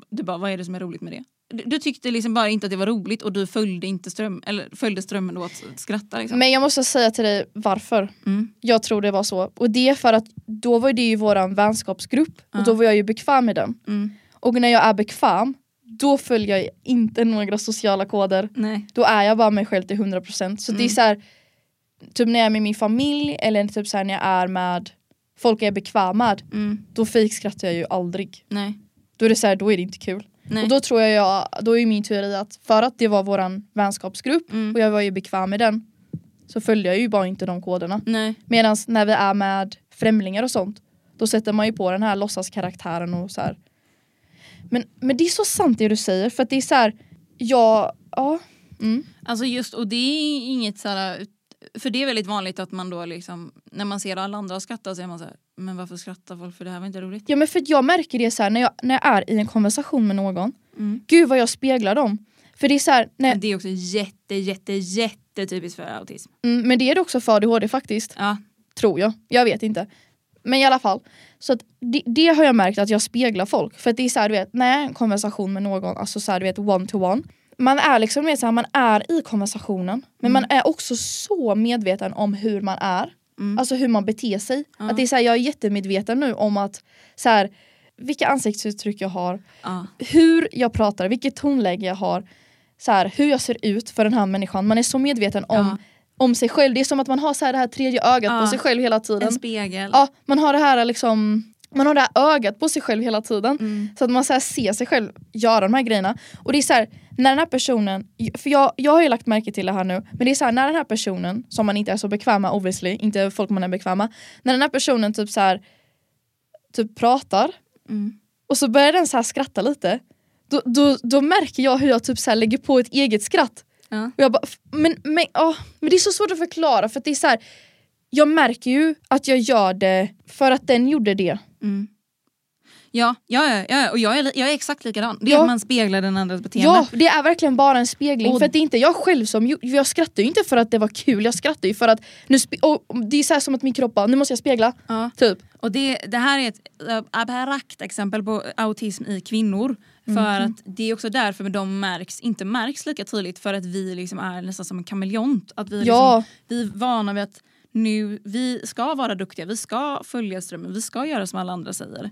Speaker 2: du bara vad är det som är roligt med det? Du, du tyckte liksom bara inte att det var roligt och du följde inte ström, eller följde strömmen då att skratta liksom.
Speaker 1: Men jag måste säga till dig varför
Speaker 2: Mm.
Speaker 1: jag tror det var så. Och det är för att då var det ju våran vänskapsgrupp
Speaker 2: Ja.
Speaker 1: och då var jag ju bekväm i den.
Speaker 2: Mm.
Speaker 1: Och när jag är bekväm, då följer jag inte några sociala koder.
Speaker 2: Nej.
Speaker 1: Då är jag bara mig själv till 100%. Så det är
Speaker 2: Mm.
Speaker 1: så här, typ när jag är med min familj eller typ så här när jag är med folk jag är bekväm med,
Speaker 2: Mm.
Speaker 1: då fejkskrattar jag ju aldrig.
Speaker 2: Nej.
Speaker 1: Då är det så här, då är det inte kul.
Speaker 2: Nej.
Speaker 1: Och då tror jag, jag, då är min teori att för att det var våran vänskapsgrupp
Speaker 2: Mm.
Speaker 1: och jag var ju bekväm med den så följde jag ju bara inte de koderna.
Speaker 2: Nej.
Speaker 1: Medan när vi är med främlingar och sånt då sätter man ju på den här låtsaskaraktären och så här. Men, men det är så sant det du säger för att det är så här, ja, ja. Mm.
Speaker 2: Alltså just och det är inget så här, ut- för det är väldigt vanligt att man då liksom när man ser alla andra skratta så är man så här men varför skrattar folk för det här var inte roligt.
Speaker 1: Ja men för att jag märker det så här när jag, när jag är i en konversation med någon,
Speaker 2: Mm.
Speaker 1: gud vad jag speglar dem. För det är så här, när,
Speaker 2: Det är också jätte jätte jätte typiskt för autism.
Speaker 1: mm, men det är det också för ADHD faktiskt.
Speaker 2: Ja.
Speaker 1: Tror jag. Jag vet inte. Men i alla fall. Så att det, det har jag märkt att jag speglar folk. För att det är så här, du vet, när jag är i en konversation med någon, alltså så här, du vet one to one. Man är liksom med så här, man är i konversationen. Men
Speaker 2: Mm.
Speaker 1: man är också så medveten om hur man är.
Speaker 2: Mm.
Speaker 1: Alltså hur man beter sig.
Speaker 2: Ja.
Speaker 1: Att det är så här, jag är jättemedveten nu om att så här, vilka ansiktsuttryck jag har,
Speaker 2: ja.
Speaker 1: hur jag pratar, vilket tonläge jag har. Så här, hur jag ser ut för den här människan. Man är så medveten om,
Speaker 2: Ja.
Speaker 1: om sig själv. Det är som att man har så här, det här tredje ögat
Speaker 2: Ja.
Speaker 1: på sig själv hela tiden.
Speaker 2: En spegel.
Speaker 1: Ja, man har det här liksom man har det här ögat på sig själv hela tiden.
Speaker 2: Mm.
Speaker 1: Så att man så här ser sig själv göra de här grejerna. Och det är så här, när den här personen, för jag, jag har ju lagt märke till det här nu, men det är så här, när den här personen, som man inte är så bekväm med obviously, inte folk man är bekväm med, när den här personen typ så här, typ pratar
Speaker 2: Mm.
Speaker 1: och så börjar den så här skratta lite, då, då, då märker jag hur jag typ så här lägger på ett eget skratt.
Speaker 2: Ja.
Speaker 1: Och jag bara, f- men, men, åh, men det är så svårt att förklara för att det är så här. Jag märker ju att jag gör det för att den gjorde det.
Speaker 2: Mm. Ja, ja, ja, ja, och jag är, li- jag är exakt likadan. Det är
Speaker 1: Ja.
Speaker 2: att man speglar den andras beteende.
Speaker 1: Ja, det är verkligen bara en spegling.
Speaker 2: Och-
Speaker 1: För att det är inte jag själv som gjo- Jag skrattar ju inte för att det var kul, jag skrattar ju för att nu spe- och det är så här som att min kropp bara, nu måste jag spegla.
Speaker 2: Ja.
Speaker 1: Typ.
Speaker 2: Och det, det här är ett äh, abstrakt exempel på autism i kvinnor. För
Speaker 1: Mhm.
Speaker 2: att det är också därför de märks, inte märks lika tydligt för att vi liksom är nästan som en kameleont. Att vi, är
Speaker 1: Ja.
Speaker 2: liksom, vi är vana vid att nu, vi ska vara duktiga, vi ska följa strömmen, vi ska göra som alla andra säger.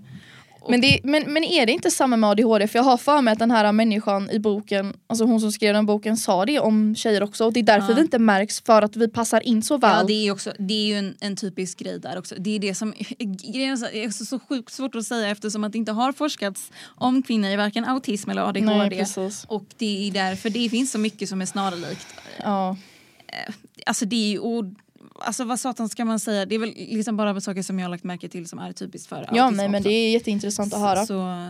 Speaker 1: Men, det, men, men är det inte samma med ADHD? För jag har för mig att den här människan i boken, alltså hon som skrev den boken sa det om tjejer också och det är därför
Speaker 2: Ja.
Speaker 1: det inte märks för att vi passar in så väl.
Speaker 2: Ja, det är, ju också, det är ju en, en typisk grej där också. Det är det som grejen är så- är också så sjukt svårt att säga eftersom att det inte har forskats om kvinnor i varken autism eller ADHD.
Speaker 1: Nej, precis.
Speaker 2: och det är därför det finns så mycket som är snarlikt.
Speaker 1: Ja.
Speaker 2: Alltså det är ju... Och, alltså vad satan ska man säga? Det är väl liksom bara saker som jag har lagt märke till som är typiskt för
Speaker 1: Ja,
Speaker 2: autism
Speaker 1: nej, men
Speaker 2: också.
Speaker 1: det är jätteintressant att höra.
Speaker 2: Så,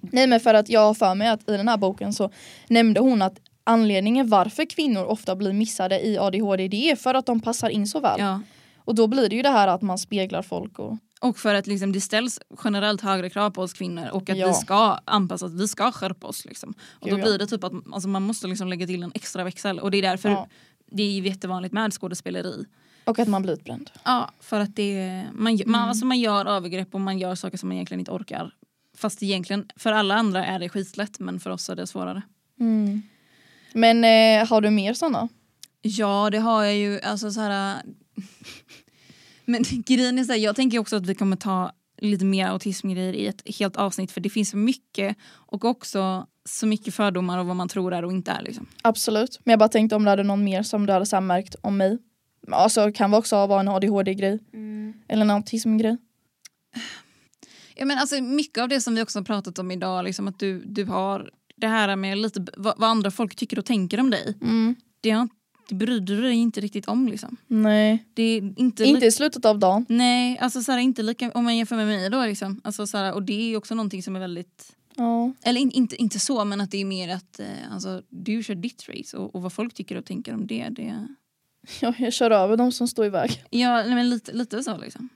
Speaker 1: Nej men för att jag har för mig att i den här boken så nämnde hon att anledningen varför kvinnor ofta blir missade i ADHD det är för att de passar in så väl.
Speaker 2: ja.
Speaker 1: Och då blir det ju det här att man speglar folk och
Speaker 2: Och för att liksom det ställs generellt högre krav på oss kvinnor och att
Speaker 1: Ja.
Speaker 2: vi ska anpassa oss, vi ska skärpa oss. Liksom. Och då
Speaker 1: Gud, ja.
Speaker 2: blir det typ att alltså, man måste liksom lägga till en extra växel och det är därför
Speaker 1: Ja.
Speaker 2: det är ju jättevanligt med skådespeleri.
Speaker 1: Och att man blir utbränd.
Speaker 2: Ja, för att det, man,
Speaker 1: Mm.
Speaker 2: man, alltså, man gör övergrepp och man gör saker som man egentligen inte orkar. Fast egentligen, för alla andra är det skitlätt men för oss är det svårare.
Speaker 1: Mm. Men eh, har du mer sådana?
Speaker 2: Ja, det har jag ju. Alltså så här... äh, Men grejen är så här, jag tänker också att vi kommer ta lite mer autismgrejer i ett helt avsnitt för det finns så mycket och också så mycket fördomar och vad man tror är och inte är. Liksom.
Speaker 1: Absolut. Men jag bara tänkte om du hade någon mer som du hade så här märkt om mig. Alltså kan det också vara en ADHD-grej. Eller en autism-grej.
Speaker 2: Ja, men alltså, mycket av det som vi också har pratat om idag, liksom, att du, du har det här med lite b- vad, vad andra folk tycker och tänker om dig,
Speaker 1: Mm.
Speaker 2: det, har, det bryr du dig inte riktigt om. Liksom.
Speaker 1: Nej.
Speaker 2: Det är inte, li-
Speaker 1: Inte i slutet av dagen.
Speaker 2: Nej, alltså så här, inte lika om man jämför med mig då. Liksom. Alltså, så här, och det är ju också någonting som är väldigt
Speaker 1: Ja.
Speaker 2: Eller in, inte, inte så, men att det är mer att eh, alltså, du kör ditt race och, och vad folk tycker och tänker om det. det
Speaker 1: Ja, jag kör över de som står i väg.
Speaker 2: ja, nej, men lite, lite så liksom.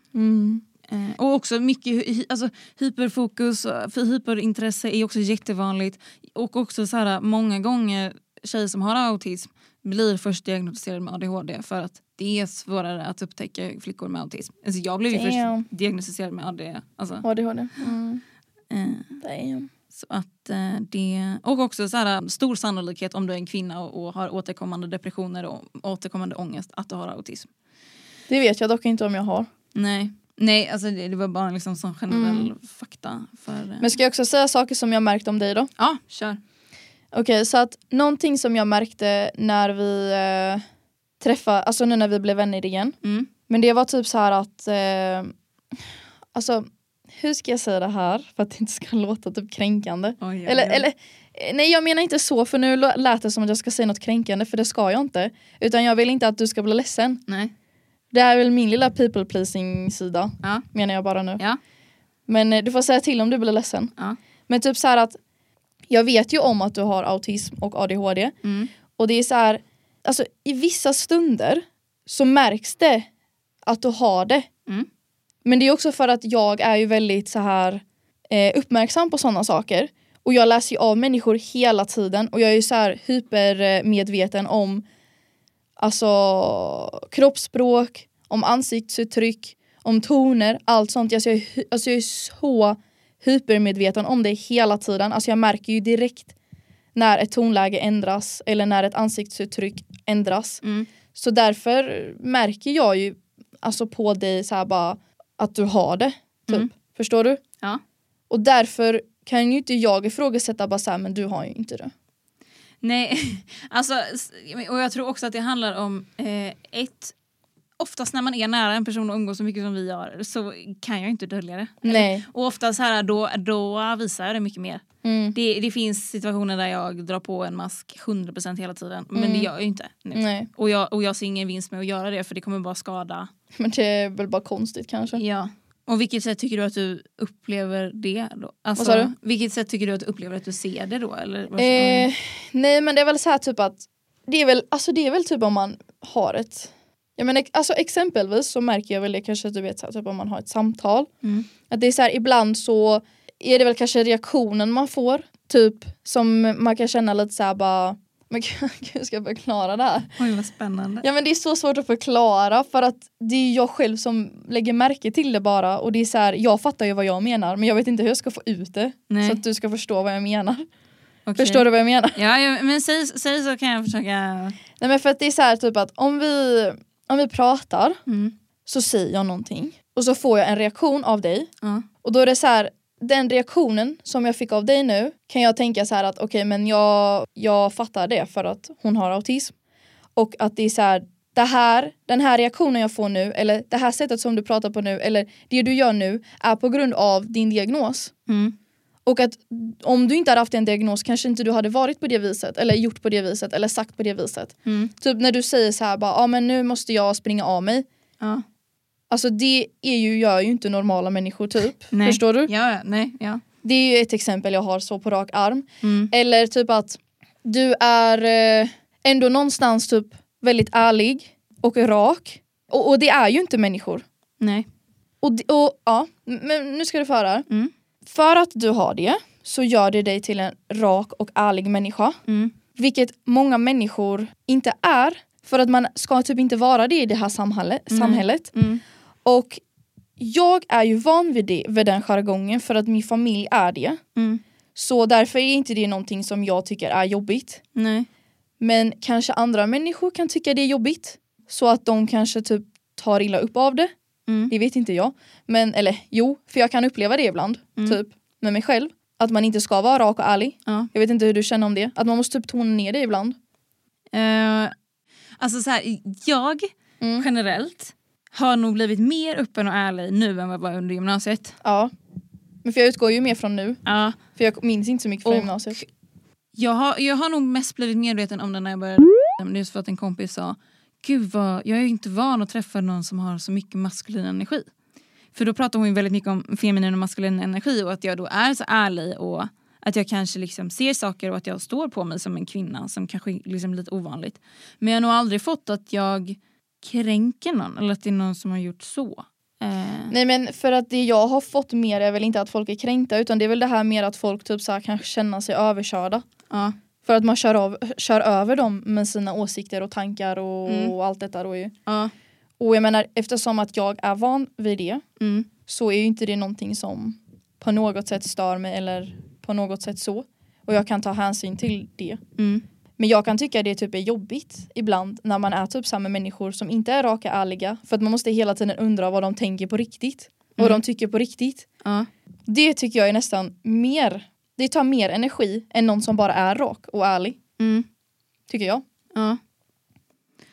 Speaker 2: Eh, och också mycket hy- hy, alltså, hyperfokus, och- för hyperintresse är också jättevanligt. Och också så här, många gånger tjejer som har autism blir först diagnostiserade med ADHD för att det är svårare att upptäcka flickor med autism. Alltså, jag blev ju
Speaker 1: Damn.
Speaker 2: först diagnostiserad med ADHD. Alltså,
Speaker 1: ADHD. Mm.
Speaker 2: eh,
Speaker 1: Damn.
Speaker 2: Så att eh, det... Och också så här, stor sannolikhet om du är en kvinna och, och har återkommande depressioner och återkommande ångest att du har autism.
Speaker 1: Det vet jag dock inte om jag har.
Speaker 2: Nej, Nej alltså det, det var bara liksom sån generell fakta. För, eh.
Speaker 1: Men ska jag också säga saker som jag märkt om dig då?
Speaker 2: Ja, kör.
Speaker 1: Okej, så att någonting som jag märkte när vi eh, träffade, alltså nu när vi blev vänner igen.
Speaker 2: Mm.
Speaker 1: Men det var typ så här att, eh, alltså hur ska jag säga det här för att det inte ska låta typ kränkande?
Speaker 2: Oj, oj,
Speaker 1: Eller,
Speaker 2: oj.
Speaker 1: eller eh, nej jag menar inte så för nu lå- lät det som att jag ska säga något kränkande för det ska jag inte. Utan jag vill inte att du ska bli ledsen.
Speaker 2: Nej.
Speaker 1: Det här är väl min lilla people pleasing sida
Speaker 2: Ja.
Speaker 1: menar jag bara nu.
Speaker 2: Ja.
Speaker 1: Men eh, du får säga till om du blir ledsen.
Speaker 2: Ja.
Speaker 1: Men typ så här att jag vet ju om att du har autism och ADHD
Speaker 2: Mm.
Speaker 1: och det är så här, alltså i vissa stunder så märks det att du har det.
Speaker 2: Mm.
Speaker 1: Men det är också för att jag är ju väldigt så här eh, uppmärksam på sådana saker och jag läser ju av människor hela tiden och jag är ju så här hypermedveten om alltså kroppsspråk, om ansiktsuttryck, om toner, allt sånt. Alltså jag, är, hy- alltså jag är så hypermedveten om det hela tiden. Alltså jag märker ju direkt när ett tonläge ändras eller när ett ansiktsuttryck ändras.
Speaker 2: Mm.
Speaker 1: Så därför märker jag ju alltså på dig så här bara att du har det. Typ.
Speaker 2: Mm.
Speaker 1: Förstår du?
Speaker 2: Ja.
Speaker 1: Och därför kan ju inte jag ifrågasätta bara så här, men du har ju inte det.
Speaker 2: Nej, alltså, s- och jag tror också att det handlar om eh, ett Oftast när man är nära en person och umgås så mycket som vi gör så kan jag inte dölja det.
Speaker 1: Nej.
Speaker 2: Och oftast här, då, då visar jag det mycket mer.
Speaker 1: Mm.
Speaker 2: Det, det finns situationer där jag drar på en mask 100% hela tiden men
Speaker 1: Mm.
Speaker 2: det gör jag ju inte. Nu.
Speaker 1: Nej.
Speaker 2: Och, jag, och jag ser ingen vinst med att göra det för det kommer bara skada.
Speaker 1: Men det är väl bara konstigt kanske.
Speaker 2: Ja. Och vilket sätt tycker du att du upplever det då? Alltså,
Speaker 1: Vad sa du?
Speaker 2: Vilket sätt tycker du att du upplever att du ser det då? Eller varför-
Speaker 1: Eh, nej men det är väl så här typ att det är väl, alltså det är väl typ om man har ett jag menar, alltså exempelvis så märker jag väl det kanske du vet så här, typ om man har ett samtal
Speaker 2: Mm.
Speaker 1: att det är så här ibland så är det väl kanske reaktionen man får typ som man kan känna lite så här bara men gud hur ska jag förklara det här?
Speaker 2: Oj vad spännande.
Speaker 1: Ja men det är så svårt att förklara för att det är jag själv som lägger märke till det bara och det är så här, jag fattar ju vad jag menar men jag vet inte hur jag ska få ut det
Speaker 2: Nej,
Speaker 1: så att du ska förstå vad jag menar.
Speaker 2: okej.
Speaker 1: Förstår du vad jag menar?
Speaker 2: Ja, ja men säg, säg så kan jag försöka.
Speaker 1: Nej men för att det är så här typ att om vi, om vi pratar
Speaker 2: Mm.
Speaker 1: så säger jag någonting och så får jag en reaktion av dig
Speaker 2: Ja.
Speaker 1: och då är det så här den reaktionen som jag fick av dig nu kan jag tänka så här att okej men jag, jag fattar det för att hon har autism. Och att det är så här, det här, den här reaktionen jag får nu eller det här sättet som du pratar på nu eller det du gör nu är på grund av din diagnos.
Speaker 2: Mm.
Speaker 1: Och att om du inte hade haft en diagnos kanske inte du hade varit på det viset eller gjort på det viset eller sagt på det viset.
Speaker 2: Mm.
Speaker 1: Typ när du säger så här bara, ja ah, men nu måste jag springa av mig.
Speaker 2: Ja.
Speaker 1: Alltså det är ju, gör ju inte normala människor typ.
Speaker 2: Nej.
Speaker 1: Förstår du?
Speaker 2: Ja, ja, nej, ja.
Speaker 1: Det är ju ett exempel jag har så på rak arm.
Speaker 2: Mm.
Speaker 1: Eller typ att du är eh, ändå någonstans typ väldigt ärlig och rak. Och, och det är ju inte människor.
Speaker 2: Nej.
Speaker 1: Och, det- och ja, men nu ska du få höra.
Speaker 2: Mm.
Speaker 1: För att du har det så gör det dig till en rak och ärlig människa.
Speaker 2: Mm.
Speaker 1: Vilket många människor inte är. För att man ska typ inte vara det i det här samhälle,
Speaker 2: Mm.
Speaker 1: samhället.
Speaker 2: Mm.
Speaker 1: Och jag är ju van vid, det, vid den jargongen för att min familj är det.
Speaker 2: Mm.
Speaker 1: Så därför är inte det någonting som jag tycker är jobbigt.
Speaker 2: Nej.
Speaker 1: Men kanske andra människor kan tycka det är jobbigt. Så att de kanske typ tar illa upp av det.
Speaker 2: Mm.
Speaker 1: Det vet inte jag. Men eller jo, för jag kan uppleva det ibland.
Speaker 2: Mm.
Speaker 1: Typ med mig själv. Att man inte ska vara rak och ärlig.
Speaker 2: Ja.
Speaker 1: Jag vet inte hur du känner om det. Att man måste typ tona ner det ibland.
Speaker 2: Eh, alltså så här, jag
Speaker 1: Mm.
Speaker 2: generellt har nog blivit mer öppen och ärlig nu än vad jag var under gymnasiet.
Speaker 1: Ja. Men för jag utgår ju mer från nu.
Speaker 2: Ja.
Speaker 1: För jag minns inte så mycket från
Speaker 2: Och-
Speaker 1: gymnasiet.
Speaker 2: Jag, har, jag har nog mest blivit medveten om det när jag började men det är just för att en kompis sa Gud vad, jag är ju inte van att träffa någon som har så mycket maskulin energi. För då pratar hon ju väldigt mycket om feminin och maskulin energi och att jag då är så ärlig och att jag kanske liksom ser saker och att jag står på mig som en kvinna som kanske är liksom lite ovanligt. Men jag har nog aldrig fått att jag kränker någon eller att det är någon som har gjort så. Eh,
Speaker 1: Nej men för att det jag har fått mer är väl inte att folk är kränkta utan det är väl det här mer att folk typ så här kan känna sig överkörda.
Speaker 2: ja.
Speaker 1: För att man kör, av, kör över dem med sina åsikter och tankar och,
Speaker 2: Mm.
Speaker 1: och allt detta då ju.
Speaker 2: Ja.
Speaker 1: Och jag menar eftersom att jag är van vid det
Speaker 2: Mm.
Speaker 1: så är ju inte det någonting som på något sätt stör mig eller på något sätt så. Och jag kan ta hänsyn till det.
Speaker 2: Mm.
Speaker 1: Men jag kan tycka det typ är jobbigt ibland när man är typ samma människor som inte är raka ärliga för att man måste hela tiden undra vad de tänker på riktigt. Vad
Speaker 2: Mm.
Speaker 1: de tycker på riktigt.
Speaker 2: Ja.
Speaker 1: Det tycker jag är nästan mer, det tar mer energi än någon som bara är rak och ärlig.
Speaker 2: Mm.
Speaker 1: Tycker jag.
Speaker 2: Ja.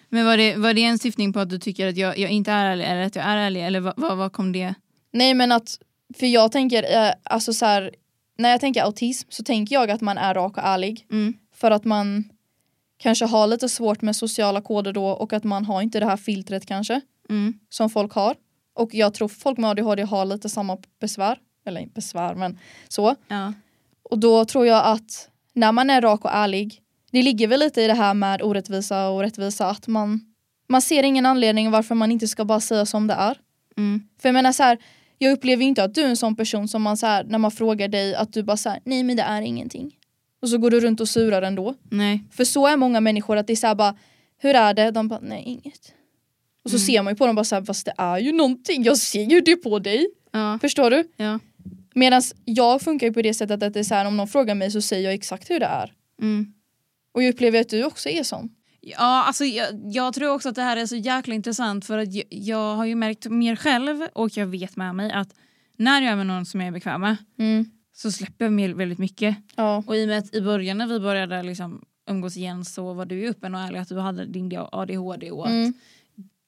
Speaker 2: Men var det, var det en syftning på att du tycker att jag, jag inte är ärlig eller att jag är ärlig? Eller vad, vad, vad kom det?
Speaker 1: Nej men att, för jag tänker, eh, alltså så här, när jag tänker autism så tänker jag att man är rak och ärlig.
Speaker 2: Mm.
Speaker 1: För att man kanske har lite svårt med sociala koder då och att man har inte det här filtret kanske
Speaker 2: Mm.
Speaker 1: som folk har. Och jag tror folk med ADHD har lite samma besvär. Eller inte besvär men så.
Speaker 2: Ja.
Speaker 1: Och då tror jag att när man är rak och ärlig, det ligger väl lite i det här med orättvisa och rättvisa, att man, man ser ingen anledning varför man inte ska bara säga som det är.
Speaker 2: Mm.
Speaker 1: För jag menar så här, jag upplever ju inte att du är en sån person som man så här, när man frågar dig att du bara säger nej men det är ingenting. Och så går du runt och surar ändå.
Speaker 2: Nej.
Speaker 1: För så är många människor att det är så här bara, hur är det? De bara, nej inget. Och så
Speaker 2: Mm.
Speaker 1: ser man ju på dem bara så här, fast det är ju någonting, jag ser ju det på dig.
Speaker 2: Ja.
Speaker 1: Förstår du?
Speaker 2: Ja.
Speaker 1: Medan jag funkar ju på det sättet att det är så här, om någon frågar mig så säger jag exakt hur det är.
Speaker 2: Mm.
Speaker 1: Och jag upplever att du också är sån.
Speaker 2: Ja, alltså jag, jag tror också att det här är så jäkla intressant för att jag, jag har ju märkt mer själv och jag vet med mig att när jag är med någon som jag är bekväm med så släpper jag mer, väldigt mycket.
Speaker 1: Ja.
Speaker 2: Och i och med att i början när vi började liksom umgås igen så var du ju öppen och ärlig att du hade din ADHD och att
Speaker 1: Mm.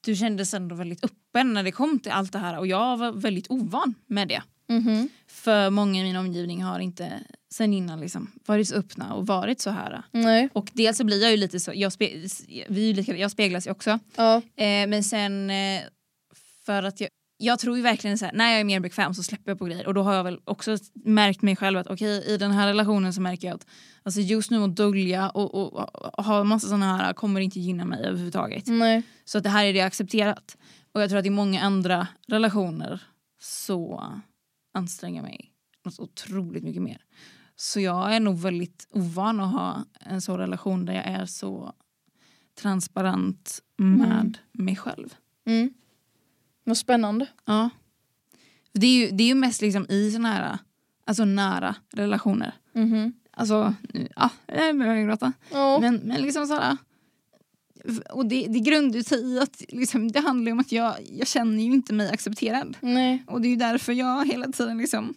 Speaker 2: du kändes ändå väldigt öppen när det kom till allt det här och jag var väldigt ovan med det.
Speaker 1: Mhm.
Speaker 2: För många i min omgivning har inte sen innan liksom varit så öppna och varit så här.
Speaker 1: Nej.
Speaker 2: Och dels så blir jag ju lite så, jag, spe, vi är ju lika, jag speglas ju också.
Speaker 1: Ja.
Speaker 2: Eh, men sen eh, för att jag, jag tror ju verkligen så här, när jag är mer bekväm så släpper jag på grejer och då har jag väl också märkt mig själv att okej i den här relationen så märker jag att alltså just nu att dölja och, och, och ha massa sådana här kommer inte gynna mig överhuvudtaget.
Speaker 1: Nej.
Speaker 2: Så att det här är det accepterat. Och jag tror att i många andra relationer så anstränger jag mig något otroligt mycket mer. Så jag är nog väldigt ovan att ha en sån relation där jag är så transparent med mig själv.
Speaker 1: Mm. Vad spännande.
Speaker 2: Ja. Det är ju, det är ju mest liksom i såna här alltså nära relationer.
Speaker 1: Mhm.
Speaker 2: Alltså, nu- ja, jag börjar gråta.
Speaker 1: Ja.
Speaker 2: Men, men liksom såhär... Och det, det grundar sig i att liksom, det handlar ju om att jag, jag känner ju inte mig accepterad.
Speaker 1: Nej.
Speaker 2: Och det är ju därför jag hela tiden liksom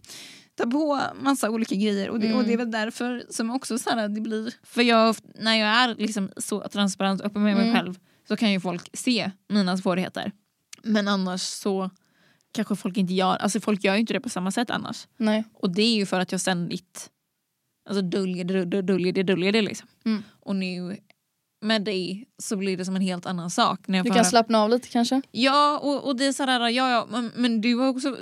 Speaker 2: ta på massa olika grejer. Och det, och det är väl därför som också så här, det blir... För jag, när jag är liksom så transparent och öppen med mig själv så kan ju folk se mina svårigheter. Men annars så kanske folk inte gör... Alltså folk gör ju inte det på samma sätt annars.
Speaker 1: Nej.
Speaker 2: Och det är ju för att jag ständigt alltså döljer det, döljer det, döljer det, döljer det liksom.
Speaker 1: Mm.
Speaker 2: Och nu med dig så blir det som en helt annan sak. När jag
Speaker 1: Du
Speaker 2: får
Speaker 1: kan
Speaker 2: höra-
Speaker 1: slappna av lite kanske?
Speaker 2: Ja, och, och det är sådär, ja, ja, men, men du har också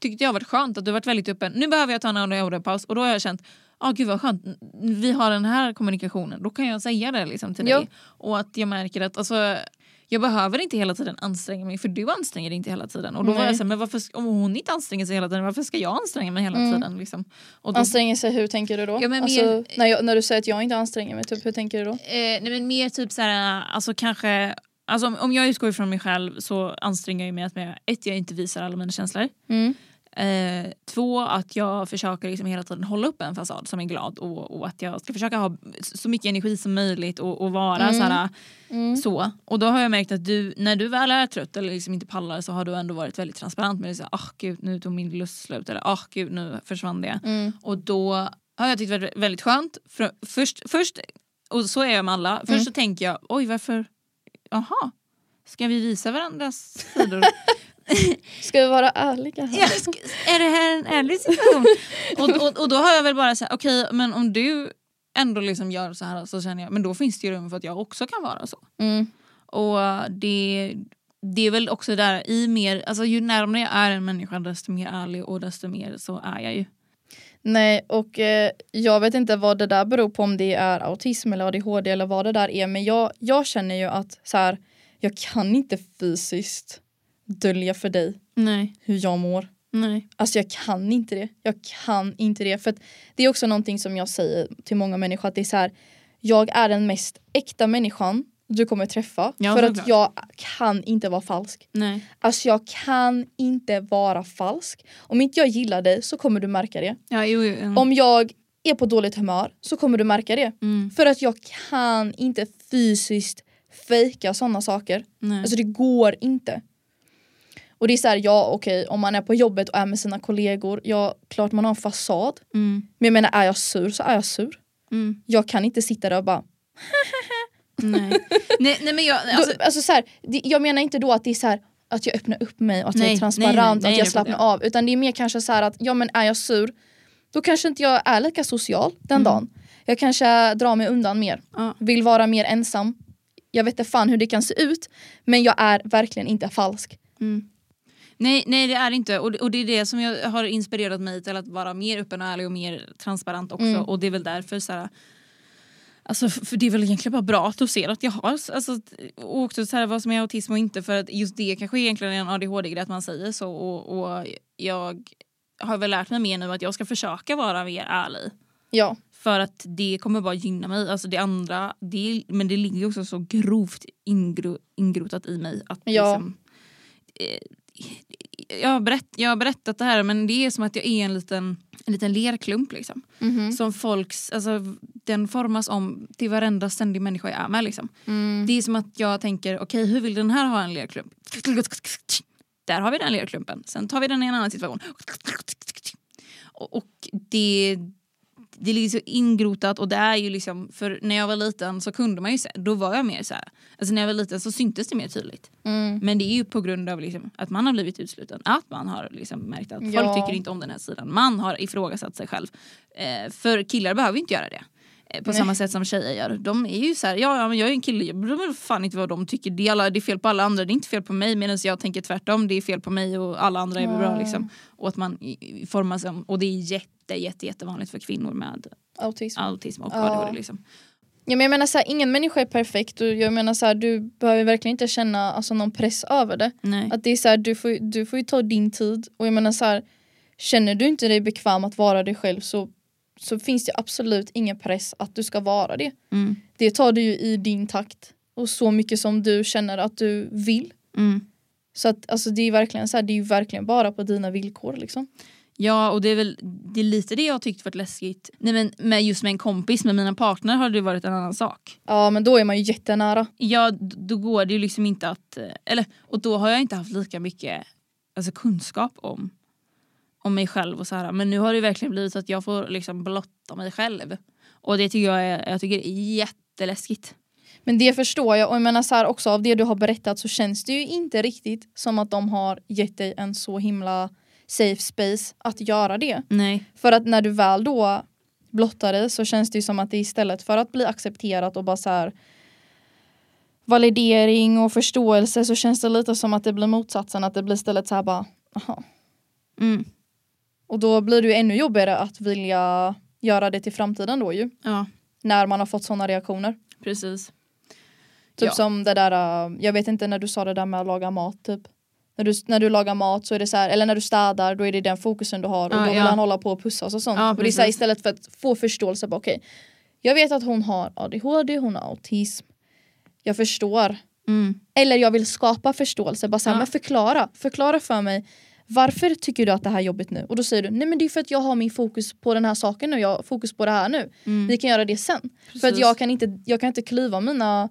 Speaker 2: tyckte jag har varit skönt att du har varit väldigt öppen. Nu behöver jag ta en audio-paus och då har jag känt Ja gud vad skönt, vi har den här kommunikationen. Då kan jag säga det liksom till
Speaker 1: Ja.
Speaker 2: dig. Och att jag märker att alltså, jag behöver inte hela tiden anstränga mig för du anstränger dig inte hela tiden. Och då var
Speaker 1: Nej.
Speaker 2: jag såhär, men varför, ska- om hon inte anstränger sig hela tiden, varför ska jag anstränga mig hela
Speaker 1: Mm.
Speaker 2: tiden? Liksom? Och då,
Speaker 1: Anstränger sig, hur tänker du då?
Speaker 2: Ja, men
Speaker 1: alltså,
Speaker 2: mer-
Speaker 1: när, jag, när du säger att jag inte anstränger mig, typ, hur tänker du då?
Speaker 2: Eh, nej men mer typ såhär, alltså kanske, alltså om, om jag utgår ifrån mig själv så anstränger jag mig att med, ett, jag inte visar alla mina känslor.
Speaker 1: Mm.
Speaker 2: Eh, två, att jag försöker liksom hela tiden hålla upp en fasad som är glad och, och att jag ska försöka ha så mycket energi som möjligt och, och vara
Speaker 1: Mm.
Speaker 2: såhär,
Speaker 1: Mm.
Speaker 2: så. Och då har jag märkt att du, när du väl är trött eller liksom inte pallar så har du ändå varit väldigt transparent med det. Såhär, ah gud nu tog min lust slut eller ah gud nu försvann det.
Speaker 1: Mm.
Speaker 2: Och då har jag tyckt det varit väldigt skönt. För, först, först, och så är jag med alla, först
Speaker 1: Mm.
Speaker 2: så tänker jag oj varför, jaha, ska vi visa varandras sidor?
Speaker 1: Ska vi vara ärliga? här?
Speaker 2: Ja, sk- är det här en ärlig situation? och, och, och då har jag väl bara sagt okej men om du ändå liksom gör så här så känner jag men då finns det ju rum för att jag också kan vara så.
Speaker 1: Mm.
Speaker 2: Och det, det är väl också där i mer, alltså ju närmare jag är en människa desto mer ärlig och desto mer så är jag ju.
Speaker 1: Nej, och eh, jag vet inte vad det där beror på, om det är autism eller ADHD eller vad det där är, men jag, jag känner ju att så här, jag kan inte fysiskt dölja för dig
Speaker 2: Nej,
Speaker 1: hur jag mår.
Speaker 2: nej.
Speaker 1: Alltså jag kan inte det. Jag kan inte det. För att det är också någonting som jag säger till många människor att det är så här, jag är den mest äkta människan du kommer träffa.
Speaker 2: Ja,
Speaker 1: för att
Speaker 2: såklart.
Speaker 1: jag kan inte vara falsk.
Speaker 2: nej.
Speaker 1: Alltså jag kan inte vara falsk. Om inte jag gillar dig så kommer du märka det.
Speaker 2: Ja, jo, jo, mm.
Speaker 1: Om jag är på dåligt humör så kommer du märka det.
Speaker 2: Mm,
Speaker 1: För att jag kan inte fysiskt fejka sådana saker.
Speaker 2: nej.
Speaker 1: Alltså det går inte. Och det är så här, ja okej om man är på jobbet och är med sina kollegor, ja klart man har en fasad.
Speaker 2: mm,
Speaker 1: Men jag menar är jag sur så är jag sur.
Speaker 2: mm,
Speaker 1: Jag kan inte sitta där och bara
Speaker 2: nej. nej, nej men jag, alltså,
Speaker 1: Då, alltså så här, det, jag menar inte då att det är så här att jag öppnar upp mig och att jag är
Speaker 2: Nej,
Speaker 1: transparent
Speaker 2: nej, nej, nej,
Speaker 1: att jag
Speaker 2: det-
Speaker 1: slappnar av. Utan det är mer kanske så här att ja men är jag sur då kanske inte jag är lika social den
Speaker 2: Mm.
Speaker 1: dagen. Jag kanske drar mig undan mer.
Speaker 2: Ja.
Speaker 1: Vill vara mer ensam. Jag vet inte fan hur det kan se ut men jag är verkligen inte falsk.
Speaker 2: Mm. Nej, nej det är det inte. Och det, och det är det som jag har inspirerat mig till att vara mer öppen och ärlig och mer transparent också.
Speaker 1: Mm.
Speaker 2: Och det är väl därför så här, Alltså f- för det är väl egentligen bara bra att du ser att jag har alltså, och också så här, vad som är autism och inte för att just det kanske egentligen är en ADHD-grej att man säger så och, och jag har väl lärt mig mer nu att jag ska försöka vara mer ärlig
Speaker 1: Ja.
Speaker 2: för att det kommer bara gynna mig. Alltså det andra, det, men det ligger ju också så grovt ingro, ingrotat i mig. Att
Speaker 1: Ja.
Speaker 2: liksom, eh, jag, har berätt, jag har berättat det här men det är som att jag är en liten, en liten lerklump. Liksom.
Speaker 1: Mhm.
Speaker 2: Som folks, alltså, den formas om till varenda ständig människa jag är med. Liksom. Det är som att jag tänker, okej hur vill den här ha en lerklump? Där har vi den lerklumpen. Sen tar vi den i en annan situation. Och och det, det ligger så ingrotat och det är ju liksom, för när jag var liten så kunde man ju se, då var jag mer så här. Alltså när jag var liten så syntes det mer tydligt.
Speaker 1: Mm.
Speaker 2: Men det är ju på grund av liksom att man har blivit utesluten, att man har liksom märkt att folk
Speaker 1: Ja.
Speaker 2: tycker inte om den här sidan. Man har ifrågasatt sig själv. Eh, för killar behöver ju inte göra det. Eh, på
Speaker 1: Nej.
Speaker 2: samma sätt som tjejer gör. De är ju så här, ja, ja men jag är ju en kille, jag bryr mig fan inte vad de tycker. Det är, alla, det är fel på alla andra, det är inte fel på mig. Medan jag tänker tvärtom, det är fel på mig och alla andra är väl bra.
Speaker 1: Ja.
Speaker 2: Liksom. Och att man i- i- formas om, och det är jätte, jätte, jättevanligt för kvinnor med
Speaker 1: Autism.
Speaker 2: autism och
Speaker 1: Ja.
Speaker 2: ADHD. Liksom.
Speaker 1: Ja, men jag menar så här, ingen människa är perfekt och jag menar så här, du behöver verkligen inte känna alltså, någon press över det.
Speaker 2: Nej.
Speaker 1: Att det är så här, du, får, du får ju ta din tid och jag menar så här, känner du inte dig bekväm att vara dig själv så, så finns det absolut ingen press att du ska vara det.
Speaker 2: Mm.
Speaker 1: Det tar du ju i din takt och så mycket som du känner att du vill.
Speaker 2: Mm.
Speaker 1: Så att alltså, det är verkligen så här, det är ju verkligen bara på dina villkor liksom.
Speaker 2: Ja, och det är väl det är lite det jag har tyckt varit läskigt. Nej, men med, just med en kompis, med mina partner har det varit en annan sak.
Speaker 1: Ja men då är man ju jättenära.
Speaker 2: Ja, d- då går det ju liksom inte att... eh, Eller, och då har jag inte haft lika mycket alltså, kunskap om om mig själv och så här. Men nu har det verkligen blivit så att jag får liksom blotta mig själv. Och det tycker jag är, jag tycker det är jätteläskigt.
Speaker 1: Men det förstår jag och jag menar så här också av det du har berättat så känns det ju inte riktigt som att de har gett dig en så himla safe space att göra det.
Speaker 2: Nej.
Speaker 1: För att när du väl då blottar dig så känns det ju som att det istället för att bli accepterat och bara så här validering och förståelse så känns det lite som att det blir motsatsen att det blir istället så här bara aha.
Speaker 2: Mm.
Speaker 1: Och då blir det ju ännu jobbigare att vilja göra det till framtiden då ju.
Speaker 2: Ja,
Speaker 1: När man har fått sådana reaktioner.
Speaker 2: precis.
Speaker 1: Typ
Speaker 2: Ja.
Speaker 1: som det där, äh, jag vet inte när du sa det där med att laga mat typ. När du, när du lagar mat så är det så här, eller när du städar då är det den fokusen du har och
Speaker 2: Ja,
Speaker 1: då vill
Speaker 2: Ah, ja.
Speaker 1: han hålla på och pussas och sånt.
Speaker 2: Ja,
Speaker 1: och det är så här,
Speaker 2: precis.
Speaker 1: istället för att få förståelse bara okej, jag vet att hon har ADHD, hon har autism, jag förstår.
Speaker 2: Mm.
Speaker 1: Eller jag vill skapa förståelse, bara så här,
Speaker 2: Ja.
Speaker 1: men förklara, förklara för mig varför tycker du att det här är jobbigt nu? Och då säger du, nej men det är för att jag har min fokus på den här saken nu, jag har fokus på det här nu.
Speaker 2: Mm.
Speaker 1: Vi kan göra det sen. För att
Speaker 2: Precis.
Speaker 1: jag kan inte, jag kan inte klyva mina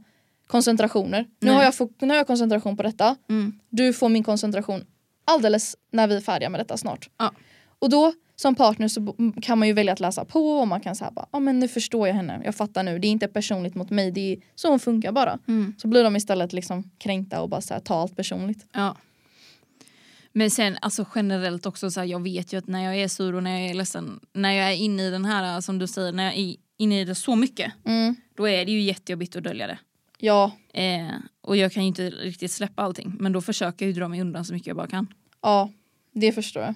Speaker 1: koncentrationer. Nu
Speaker 2: Nej.
Speaker 1: har, jag fok- nu har jag koncentration på detta,
Speaker 2: Mm.
Speaker 1: du får min koncentration alldeles när vi är färdiga med detta snart.
Speaker 2: Ja.
Speaker 1: Och då som partner så bo- m- kan man ju välja att läsa på och man kan säga bara, ja men nu förstår jag henne, jag fattar nu, det är inte personligt mot mig, det är så hon funkar bara.
Speaker 2: Mm.
Speaker 1: Så blir de istället liksom kränkta och bara så här, ta allt personligt.
Speaker 2: Ja. Men sen alltså generellt också, så här, jag vet ju att när jag är sur och när jag är ledsen, när jag är inne i den här eh, som du säger, när jag är inne i det så mycket,
Speaker 1: Mm.
Speaker 2: då är det ju jättejobbigt att dölja det.
Speaker 1: Ja,
Speaker 2: Eh, och jag kan ju inte riktigt släppa allting, men då försöker jag ju dra mig undan så mycket jag bara kan.
Speaker 1: ja, det förstår jag.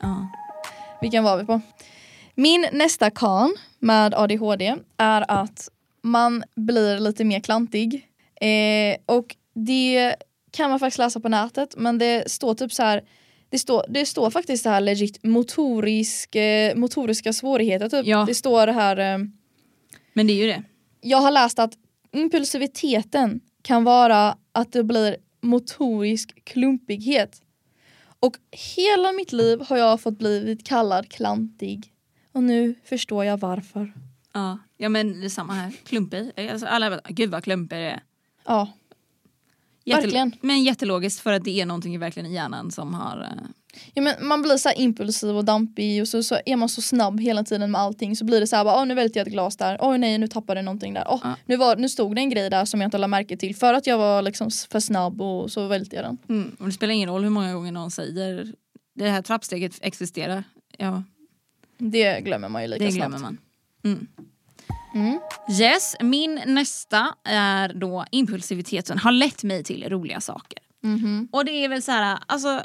Speaker 2: Ja.
Speaker 1: Vilken var vi på? Min nästa kan med ADHD är att man blir lite mer klantig. Eh, och det kan man faktiskt läsa på nätet men det står typ så här det står, det står faktiskt det här legit motorisk, eh, motoriska svårigheter typ.
Speaker 2: Ja.
Speaker 1: Det står det här eh,
Speaker 2: Men det är ju det.
Speaker 1: jag har läst att impulsiviteten kan vara att det blir motorisk klumpighet. Och hela mitt liv har jag fått blivit kallad klantig. Och nu förstår jag varför.
Speaker 2: Ja, ja men det är samma här. Klumpig. Alltså, alla bara, gud vad klumpig det är.
Speaker 1: Ja, Verkligen.
Speaker 2: Men jättelogiskt för att det är någonting verkligen i hjärnan som har... eh,
Speaker 1: ja men man blir så här impulsiv och dampig och så, så är man så snabb hela tiden med allting så blir det så här bara, "Åh, nu välte jag ett glas där, åh nej nu tappade jag någonting där, åh
Speaker 2: Ja.
Speaker 1: nu, var, nu stod det en grej där som jag inte lade märke till för att jag var liksom s- för snabb och så välte jag den.
Speaker 2: Mm. Och det spelar ingen roll hur många gånger någon säger det här trappsteget existerar. Ja,
Speaker 1: Det glömmer man ju lika
Speaker 2: det
Speaker 1: snabbt.
Speaker 2: glömmer man. Mm.
Speaker 1: Mm.
Speaker 2: Yes, min nästa är då impulsiviteten har lett mig till roliga saker.
Speaker 1: Mhm.
Speaker 2: Och det är väl så här, alltså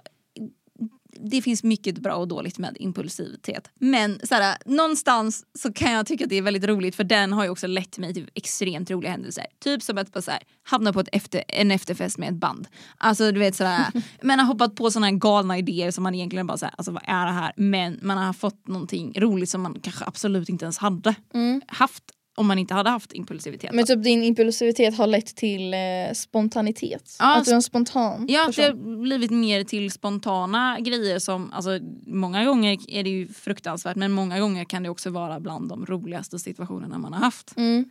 Speaker 2: det finns mycket bra och dåligt med impulsivitet. Men så här, någonstans så kan jag tycka att det är väldigt roligt för den har ju också lett mig till extremt roliga händelser. Typ som att bara så här, hamna på ett efter, en efterfest med ett band. Alltså du vet sådär, man har hoppat på sådana galna idéer som man egentligen bara såhär, alltså vad är det här? Men man har fått någonting roligt som man kanske absolut inte ens hade
Speaker 1: Mm.
Speaker 2: haft om man inte hade haft impulsivitet.
Speaker 1: Men typ din impulsivitet har lett till eh, spontanitet.
Speaker 2: Ja,
Speaker 1: att du är en spontan
Speaker 2: Ja, det
Speaker 1: person.
Speaker 2: har blivit mer till spontana grejer som, alltså många gånger är det ju fruktansvärt men många gånger kan det också vara bland de roligaste situationerna man har haft.
Speaker 1: Mm.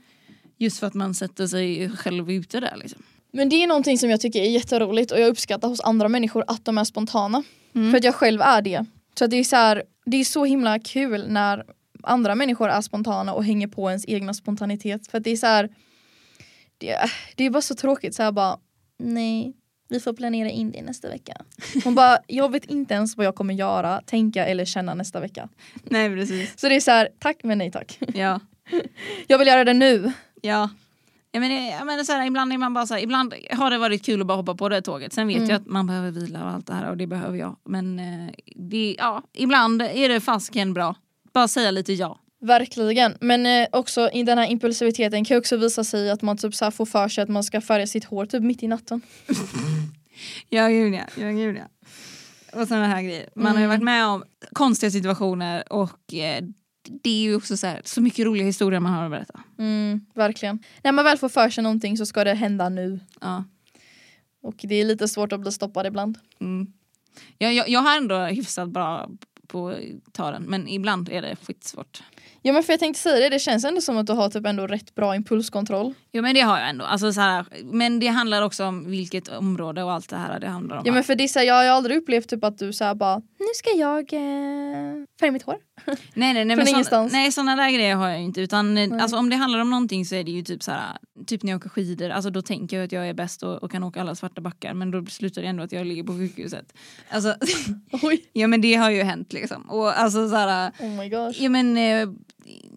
Speaker 2: Just för att man sätter sig själv ute där liksom.
Speaker 1: Men det är någonting som jag tycker är jätteroligt och jag uppskattar hos andra människor att de är spontana.
Speaker 2: Mm.
Speaker 1: För att jag själv är det. Så att det, är så här, det är så himla kul när andra människor är spontana och hänger på ens egna spontanitet. För att det är så här, det, det är bara så tråkigt så här bara nej vi får planera in det nästa vecka. Hon bara jag vet inte ens vad jag kommer göra, tänka eller känna nästa vecka.
Speaker 2: Nej precis.
Speaker 1: Så det är så här tack men nej tack.
Speaker 2: Ja.
Speaker 1: Jag vill göra det nu.
Speaker 2: Ja. Jag menar, jag menar så här, ibland är man bara så här, ibland har det varit kul att bara hoppa på det tåget. Sen vet
Speaker 1: Mm.
Speaker 2: jag att man behöver vila och allt det här och det behöver jag. Men eh, det, ja, ibland är det fasken bra. Bara säga lite ja.
Speaker 1: Verkligen, men eh, också i den här impulsiviteten kan ju också visa sig att man typ så här får för sig att man ska färga sitt hår typ mitt i natten.
Speaker 2: Ja, gud ja. ja, gud ja. Och sådana här grejer. Man
Speaker 1: Mm.
Speaker 2: har ju varit med om konstiga situationer och eh, det är ju också så, här, så mycket roliga historier man har att berätta.
Speaker 1: Mm, verkligen. När man väl får för sig någonting så ska det hända nu.
Speaker 2: Ja.
Speaker 1: Och det är lite svårt att bli stoppad ibland.
Speaker 2: Mm. Jag, jag, jag har ändå hyfsat bra på att ta den. Men ibland är det skitsvårt.
Speaker 1: Ja men för jag tänkte säga det, det känns ändå som att du har typ ändå rätt bra impulskontroll.
Speaker 2: Jo men det har jag ändå. Alltså, så här, men det handlar också om vilket område och allt det här det handlar om.
Speaker 1: Ja men för det är så här, jag har ju aldrig upplevt typ att du såhär bara Nu ska jag eh, färga mitt hår.
Speaker 2: nej, nej, nej,
Speaker 1: från
Speaker 2: men såna,
Speaker 1: ingenstans.
Speaker 2: nej såna där grejer har jag ju inte. Utan, eh, alltså, om det handlar om någonting så är det ju typ så här, typ när jag åker skidor, alltså, då tänker jag att jag är bäst och, och kan åka alla svarta backar men då slutar det ändå att jag ligger på sjukhuset. Alltså,
Speaker 1: Oj.
Speaker 2: ja men det har ju hänt liksom. Och, alltså, så här,
Speaker 1: Oh my gosh.
Speaker 2: Ja, men, eh,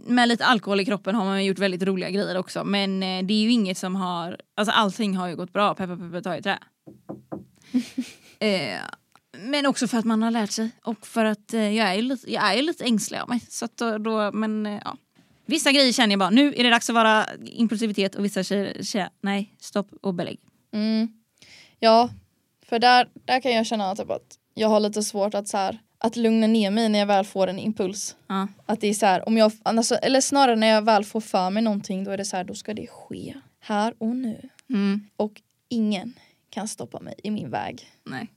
Speaker 2: med lite alkohol i kroppen har man ju gjort väldigt roliga grejer också. Men eh, det är ju inget som har... Alltså allting har ju gått bra. Peppa peppa ta i trä. eh, men också för att man har lärt sig. Och för att eh, jag, är ju lite, jag är ju lite ängslig av mig. Så att då, då, men, eh, ja. Vissa grejer känner jag bara, nu är det dags att vara impulsivitet och vissa tjejer, tjejer nej, stopp och belägg.
Speaker 1: Mm. Ja, för där, där kan jag känna typ att jag har lite svårt att, så här, att lugna ner mig när jag väl får en impuls.
Speaker 2: Ja.
Speaker 1: Att det är så här, om jag, annars, eller snarare när jag väl får för mig någonting då är det så här, då ska det ske här och nu.
Speaker 2: Mm.
Speaker 1: Och ingen kan stoppa mig i min väg.
Speaker 2: Nej,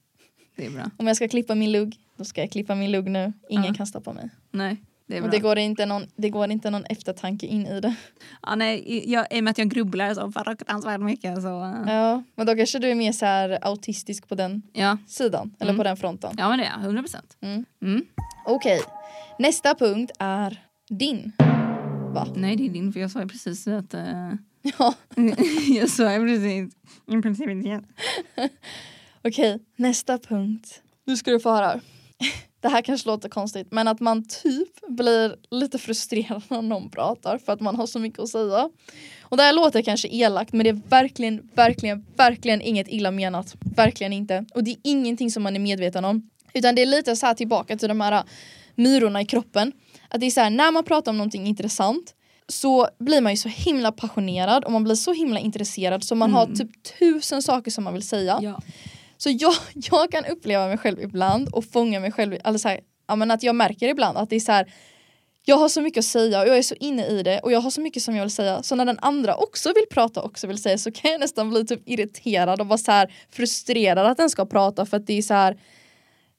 Speaker 2: det är bra.
Speaker 1: Om jag ska klippa min lugg, då ska jag klippa min lugg nu. Ingen
Speaker 2: Ja.
Speaker 1: kan stoppa mig.
Speaker 2: Nej, det är bra.
Speaker 1: Och det går, inte någon, det går inte någon eftertanke in i det.
Speaker 2: ja, nej, jag, I och med att jag grubblar så fruktansvärt mycket så... eh,
Speaker 1: Ja, men då kanske du är mer så här autistisk på den
Speaker 2: Ja.
Speaker 1: sidan, eller
Speaker 2: Mm.
Speaker 1: på den fronten.
Speaker 2: Ja men det är jag, 100 procent.
Speaker 1: Mm. Okej, nästa punkt är din. Va?
Speaker 2: Nej det är din för jag sa ju precis att... eh,
Speaker 1: Ja,
Speaker 2: jag sa ju precis impulsivitet.
Speaker 1: okej. Nästa punkt. Nu ska du få höra. Det här kanske låter konstigt men att man typ blir lite frustrerad när någon pratar för att man har så mycket att säga. Och det här låter kanske elakt men det är verkligen, verkligen, verkligen inget illa menat. Verkligen inte. Och det är ingenting som man är medveten om. Utan det är lite så här tillbaka till de här äh, myrorna i kroppen. Att det är så här, när man pratar om någonting intressant så blir man ju så himla passionerad och man blir så himla intresserad så man har
Speaker 2: Mm.
Speaker 1: typ tusen saker som man vill säga.
Speaker 2: Ja.
Speaker 1: Så jag, jag kan uppleva mig själv ibland och fånga mig själv, eller så här, ja, men att jag märker ibland att det är så här jag har så mycket att säga och jag är så inne i det och jag har så mycket som jag vill säga så när den andra också vill prata och också vill säga så kan jag nästan bli typ irriterad och vara så här frustrerad att den ska prata för att det är så här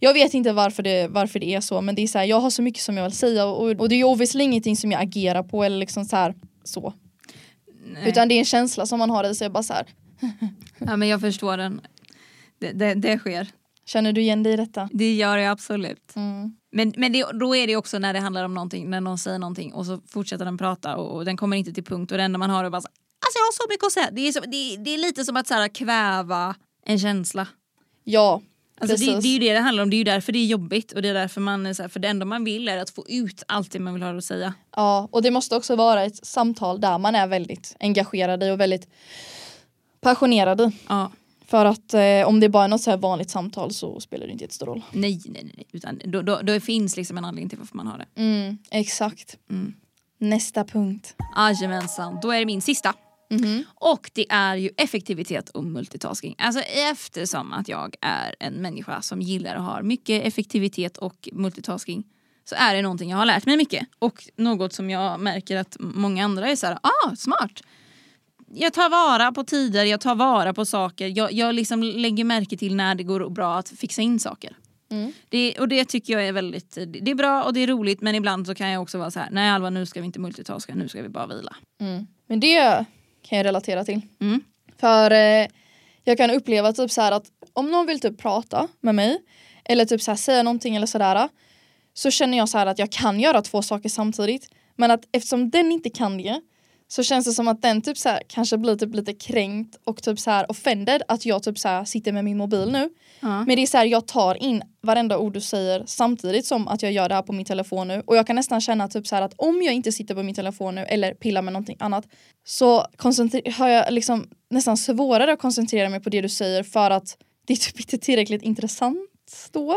Speaker 1: jag vet inte varför det, varför det är så men det är så här, jag har så mycket som jag vill säga och, och det är ju obviously ingenting som jag agerar på eller liksom så här så
Speaker 2: Nej.
Speaker 1: utan det är en känsla som man har i sig bara så här
Speaker 2: ja men jag förstår den. Det, det, det sker.
Speaker 1: känner du igen dig i detta?
Speaker 2: Det gör jag absolut.
Speaker 1: Mm.
Speaker 2: Men, men det, då är det också när det handlar om någonting, när någon säger någonting och så fortsätter den prata och, och den kommer inte till punkt och det enda man har är bara så, alltså jag har så mycket att säga. Det är, så, det, det är lite som att så här, kväva en känsla.
Speaker 1: Ja,
Speaker 2: Alltså det,
Speaker 1: Precis.
Speaker 2: det är ju det det handlar om, det är ju därför det är jobbigt och det är därför man, är så här, för det enda man vill är att få ut allt det man vill ha att säga.
Speaker 1: Ja, och det måste också vara ett samtal där man är väldigt engagerad i och väldigt passionerad i.
Speaker 2: Ja.
Speaker 1: För att eh, om det bara är något så här vanligt samtal så spelar det inte jättestor roll.
Speaker 2: Nej, nej, nej. nej. Utan då, då, då finns liksom en anledning till varför man har det.
Speaker 1: Mm, exakt.
Speaker 2: Mm.
Speaker 1: Nästa punkt.
Speaker 2: Ah, Jajamensan, då är det min sista.
Speaker 1: Mhm.
Speaker 2: Och det är ju effektivitet och multitasking. Alltså eftersom att jag är en människa som gillar och har mycket effektivitet och multitasking så är det någonting jag har lärt mig mycket. Och något som jag märker att många andra är så här, ah smart. Jag tar vara på tider, jag tar vara på saker. Jag, jag liksom lägger märke till när det går bra att fixa in saker.
Speaker 1: Mm.
Speaker 2: Det, och det tycker jag är väldigt, det det är bra och det är roligt men ibland så kan jag också vara så här, nej Alva nu ska vi inte multitaska, nu ska vi bara vila.
Speaker 1: Mm. Men det kan jag relatera till.
Speaker 2: Mm.
Speaker 1: För eh, jag kan uppleva typ så här att om någon vill typ prata med mig eller typ så här säga någonting eller sådär så känner jag så här att jag kan göra två saker samtidigt men att eftersom den inte kan det så känns det som att den typ så här kanske blir typ lite kränkt och typ så här offended att jag typ så här sitter med min mobil nu.
Speaker 2: Ja.
Speaker 1: Men det är så här jag tar in varenda ord du säger samtidigt som att jag gör det här på min telefon nu och jag kan nästan känna typ så här att om jag inte sitter på min telefon nu eller pillar med någonting annat så koncentrer- har jag liksom nästan svårare att koncentrera mig på det du säger för att det är typ inte tillräckligt intressant då.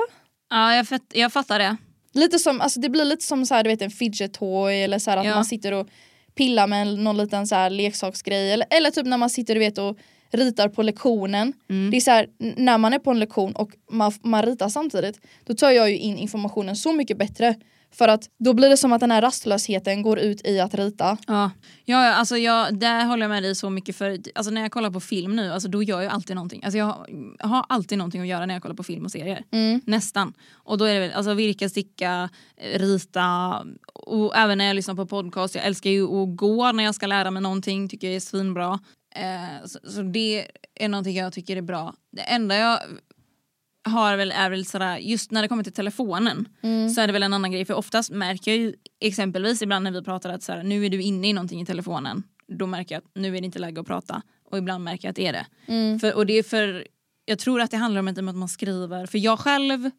Speaker 2: Ja, jag, fatt, jag fattar det.
Speaker 1: Lite som, alltså det blir lite som så här, du vet, en fidget toy eller så här att
Speaker 2: Ja.
Speaker 1: man sitter och pillar med någon liten så här leksaksgrej eller, eller typ när man sitter du vet, och ritar på lektionen.
Speaker 2: Mm.
Speaker 1: Det är så här, n- när man är på en lektion och man, man ritar samtidigt då tar jag ju in informationen så mycket bättre För att då blir det som att den här rastlösheten går ut i att rita.
Speaker 2: Ja, ja ja, alltså jag, där håller jag med dig så mycket för alltså när jag kollar på film nu, alltså då gör jag alltid någonting. Alltså jag har, jag har alltid någonting att göra när jag kollar på film och serier.
Speaker 1: Mm.
Speaker 2: Nästan. Och då är det väl alltså virka, sticka, eh, rita och även när jag lyssnar på podcast. Jag älskar ju att gå när jag ska lära mig någonting, tycker jag är svinbra. Eh, så, så det är någonting jag tycker är bra. Det enda jag har väl är väl sådär, just när det kommer till telefonen så är det väl en annan grej. För oftast märker jag ju exempelvis ibland när vi pratar att såhär, nu är du inne i någonting i telefonen. Då märker jag att nu är det inte läge att prata. Och ibland märker jag att det är det. För, och det är för, jag tror att det handlar om att man skriver, för jag själv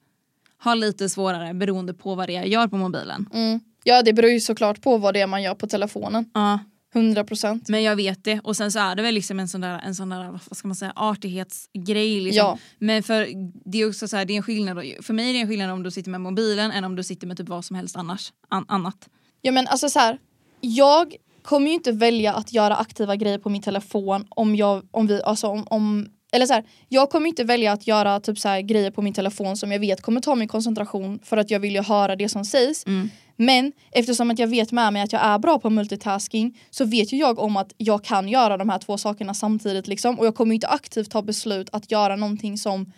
Speaker 2: har lite svårare beroende på vad det är jag gör på mobilen.
Speaker 1: Mm. Ja det beror ju såklart på vad det är man gör på telefonen.
Speaker 2: Ja,
Speaker 1: 100%.
Speaker 2: men jag vet det. Och sen så är det väl liksom en sån där, en sån där vad ska man säga, artighetsgrej. Liksom.
Speaker 1: Ja.
Speaker 2: Men för det är också så här, det är en skillnad, för mig är det en skillnad om du sitter med mobilen än om du sitter med typ vad som helst annars. An- annat.
Speaker 1: Ja men alltså så här. jag kommer ju inte välja att göra aktiva grejer på min telefon om jag, om vi, alltså om, om eller så här, jag kommer ju inte välja att göra typ så här, grejer på min telefon som jag vet kommer ta min koncentration för att jag vill ju höra det som sägs.
Speaker 2: Mm.
Speaker 1: Men eftersom att jag vet med mig att jag är bra på multitasking så vet ju jag om att jag kan göra de här två sakerna samtidigt liksom och jag kommer ju inte aktivt ta beslut att göra någonting som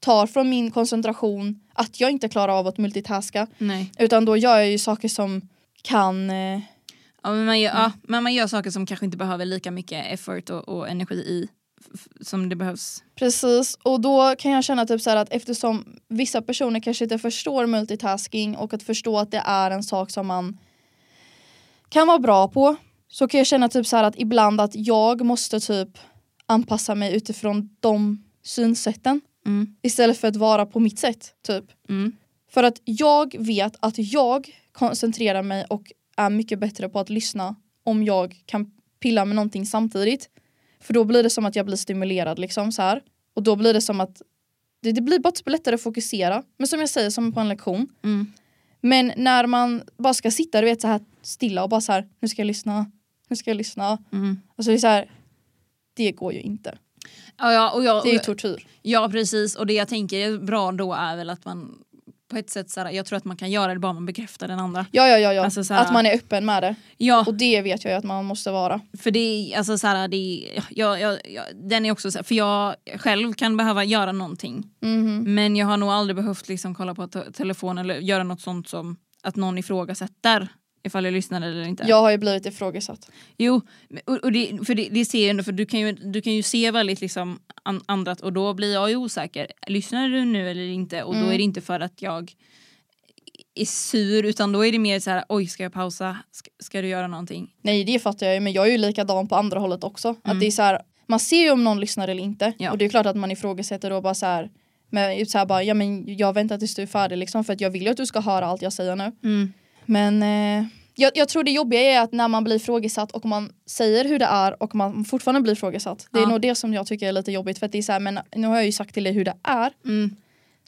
Speaker 1: tar från min koncentration att jag inte klarar av att multitaska
Speaker 2: Nej.
Speaker 1: utan då gör jag ju saker som kan eh,
Speaker 2: Ja, men, man gör, ja, men man gör saker som kanske inte behöver lika mycket effort och, och energi i f- f- som det behövs.
Speaker 1: Precis, och då kan jag känna typ så här att eftersom vissa personer kanske inte förstår multitasking och att förstå att det är en sak som man kan vara bra på så kan jag känna typ så här att ibland att jag måste typ anpassa mig utifrån de synsätten
Speaker 2: Mm.
Speaker 1: istället för att vara på mitt sätt typ.
Speaker 2: Mm.
Speaker 1: För att jag vet att jag koncentrerar mig och är mycket bättre på att lyssna om jag kan pilla med någonting samtidigt. För då blir det som att jag blir stimulerad liksom så här. Och då blir det som att det, det blir bara typ lättare att fokusera. Men som jag säger, som på en lektion.
Speaker 2: Mm.
Speaker 1: Men när man bara ska sitta du vet så här stilla och bara så här nu ska jag lyssna, nu ska jag lyssna.
Speaker 2: Mm.
Speaker 1: Alltså det är så här, det går ju inte.
Speaker 2: Ja, ja, och jag,
Speaker 1: Det är ju tortyr.
Speaker 2: Ja precis och det jag tänker är bra då är väl att man på ett sätt så här, jag tror att man kan göra det bara man bekräftar den andra.
Speaker 1: Ja, ja, ja, ja.
Speaker 2: Alltså, så här-
Speaker 1: att man är öppen med det.
Speaker 2: Ja
Speaker 1: Och det vet jag ju att man måste vara.
Speaker 2: för det är alltså så här, det är, jag, jag, jag, den är också så här, för jag själv kan behöva göra någonting
Speaker 1: Mhm.
Speaker 2: men jag har nog aldrig behövt liksom kolla på te- telefon eller göra något sånt som att någon ifrågasätter ifall jag lyssnar eller inte.
Speaker 1: Jag har ju blivit ifrågasatt.
Speaker 2: Jo, men- och, och det, för det, det ser jag ändå, för du kan ju, du kan ju se väldigt liksom an, andrat och då blir jag ju osäker. Lyssnar du nu eller inte? Och
Speaker 1: Mm.
Speaker 2: då är det inte för att jag är sur utan då är det mer så här, oj ska jag pausa? Ska, ska du göra någonting?
Speaker 1: Nej det fattar jag ju men jag är ju likadan på andra hållet också. Att det är så här, man ser ju om någon lyssnar eller inte
Speaker 2: Mm. Ja.
Speaker 1: och det är klart att man ifrågasätter då bara så här, men så här bara, ja men jag väntar tills du är färdig liksom för att jag vill ju att du ska höra allt jag säger nu. Men eh, jag, jag tror det jobbiga är att när man blir frågesatt och man säger hur det är och man fortfarande blir frågesatt. Det är
Speaker 2: Ja.
Speaker 1: nog det som jag tycker är lite jobbigt för att det är så här, men nu har jag ju sagt till dig hur det är.
Speaker 2: Mm.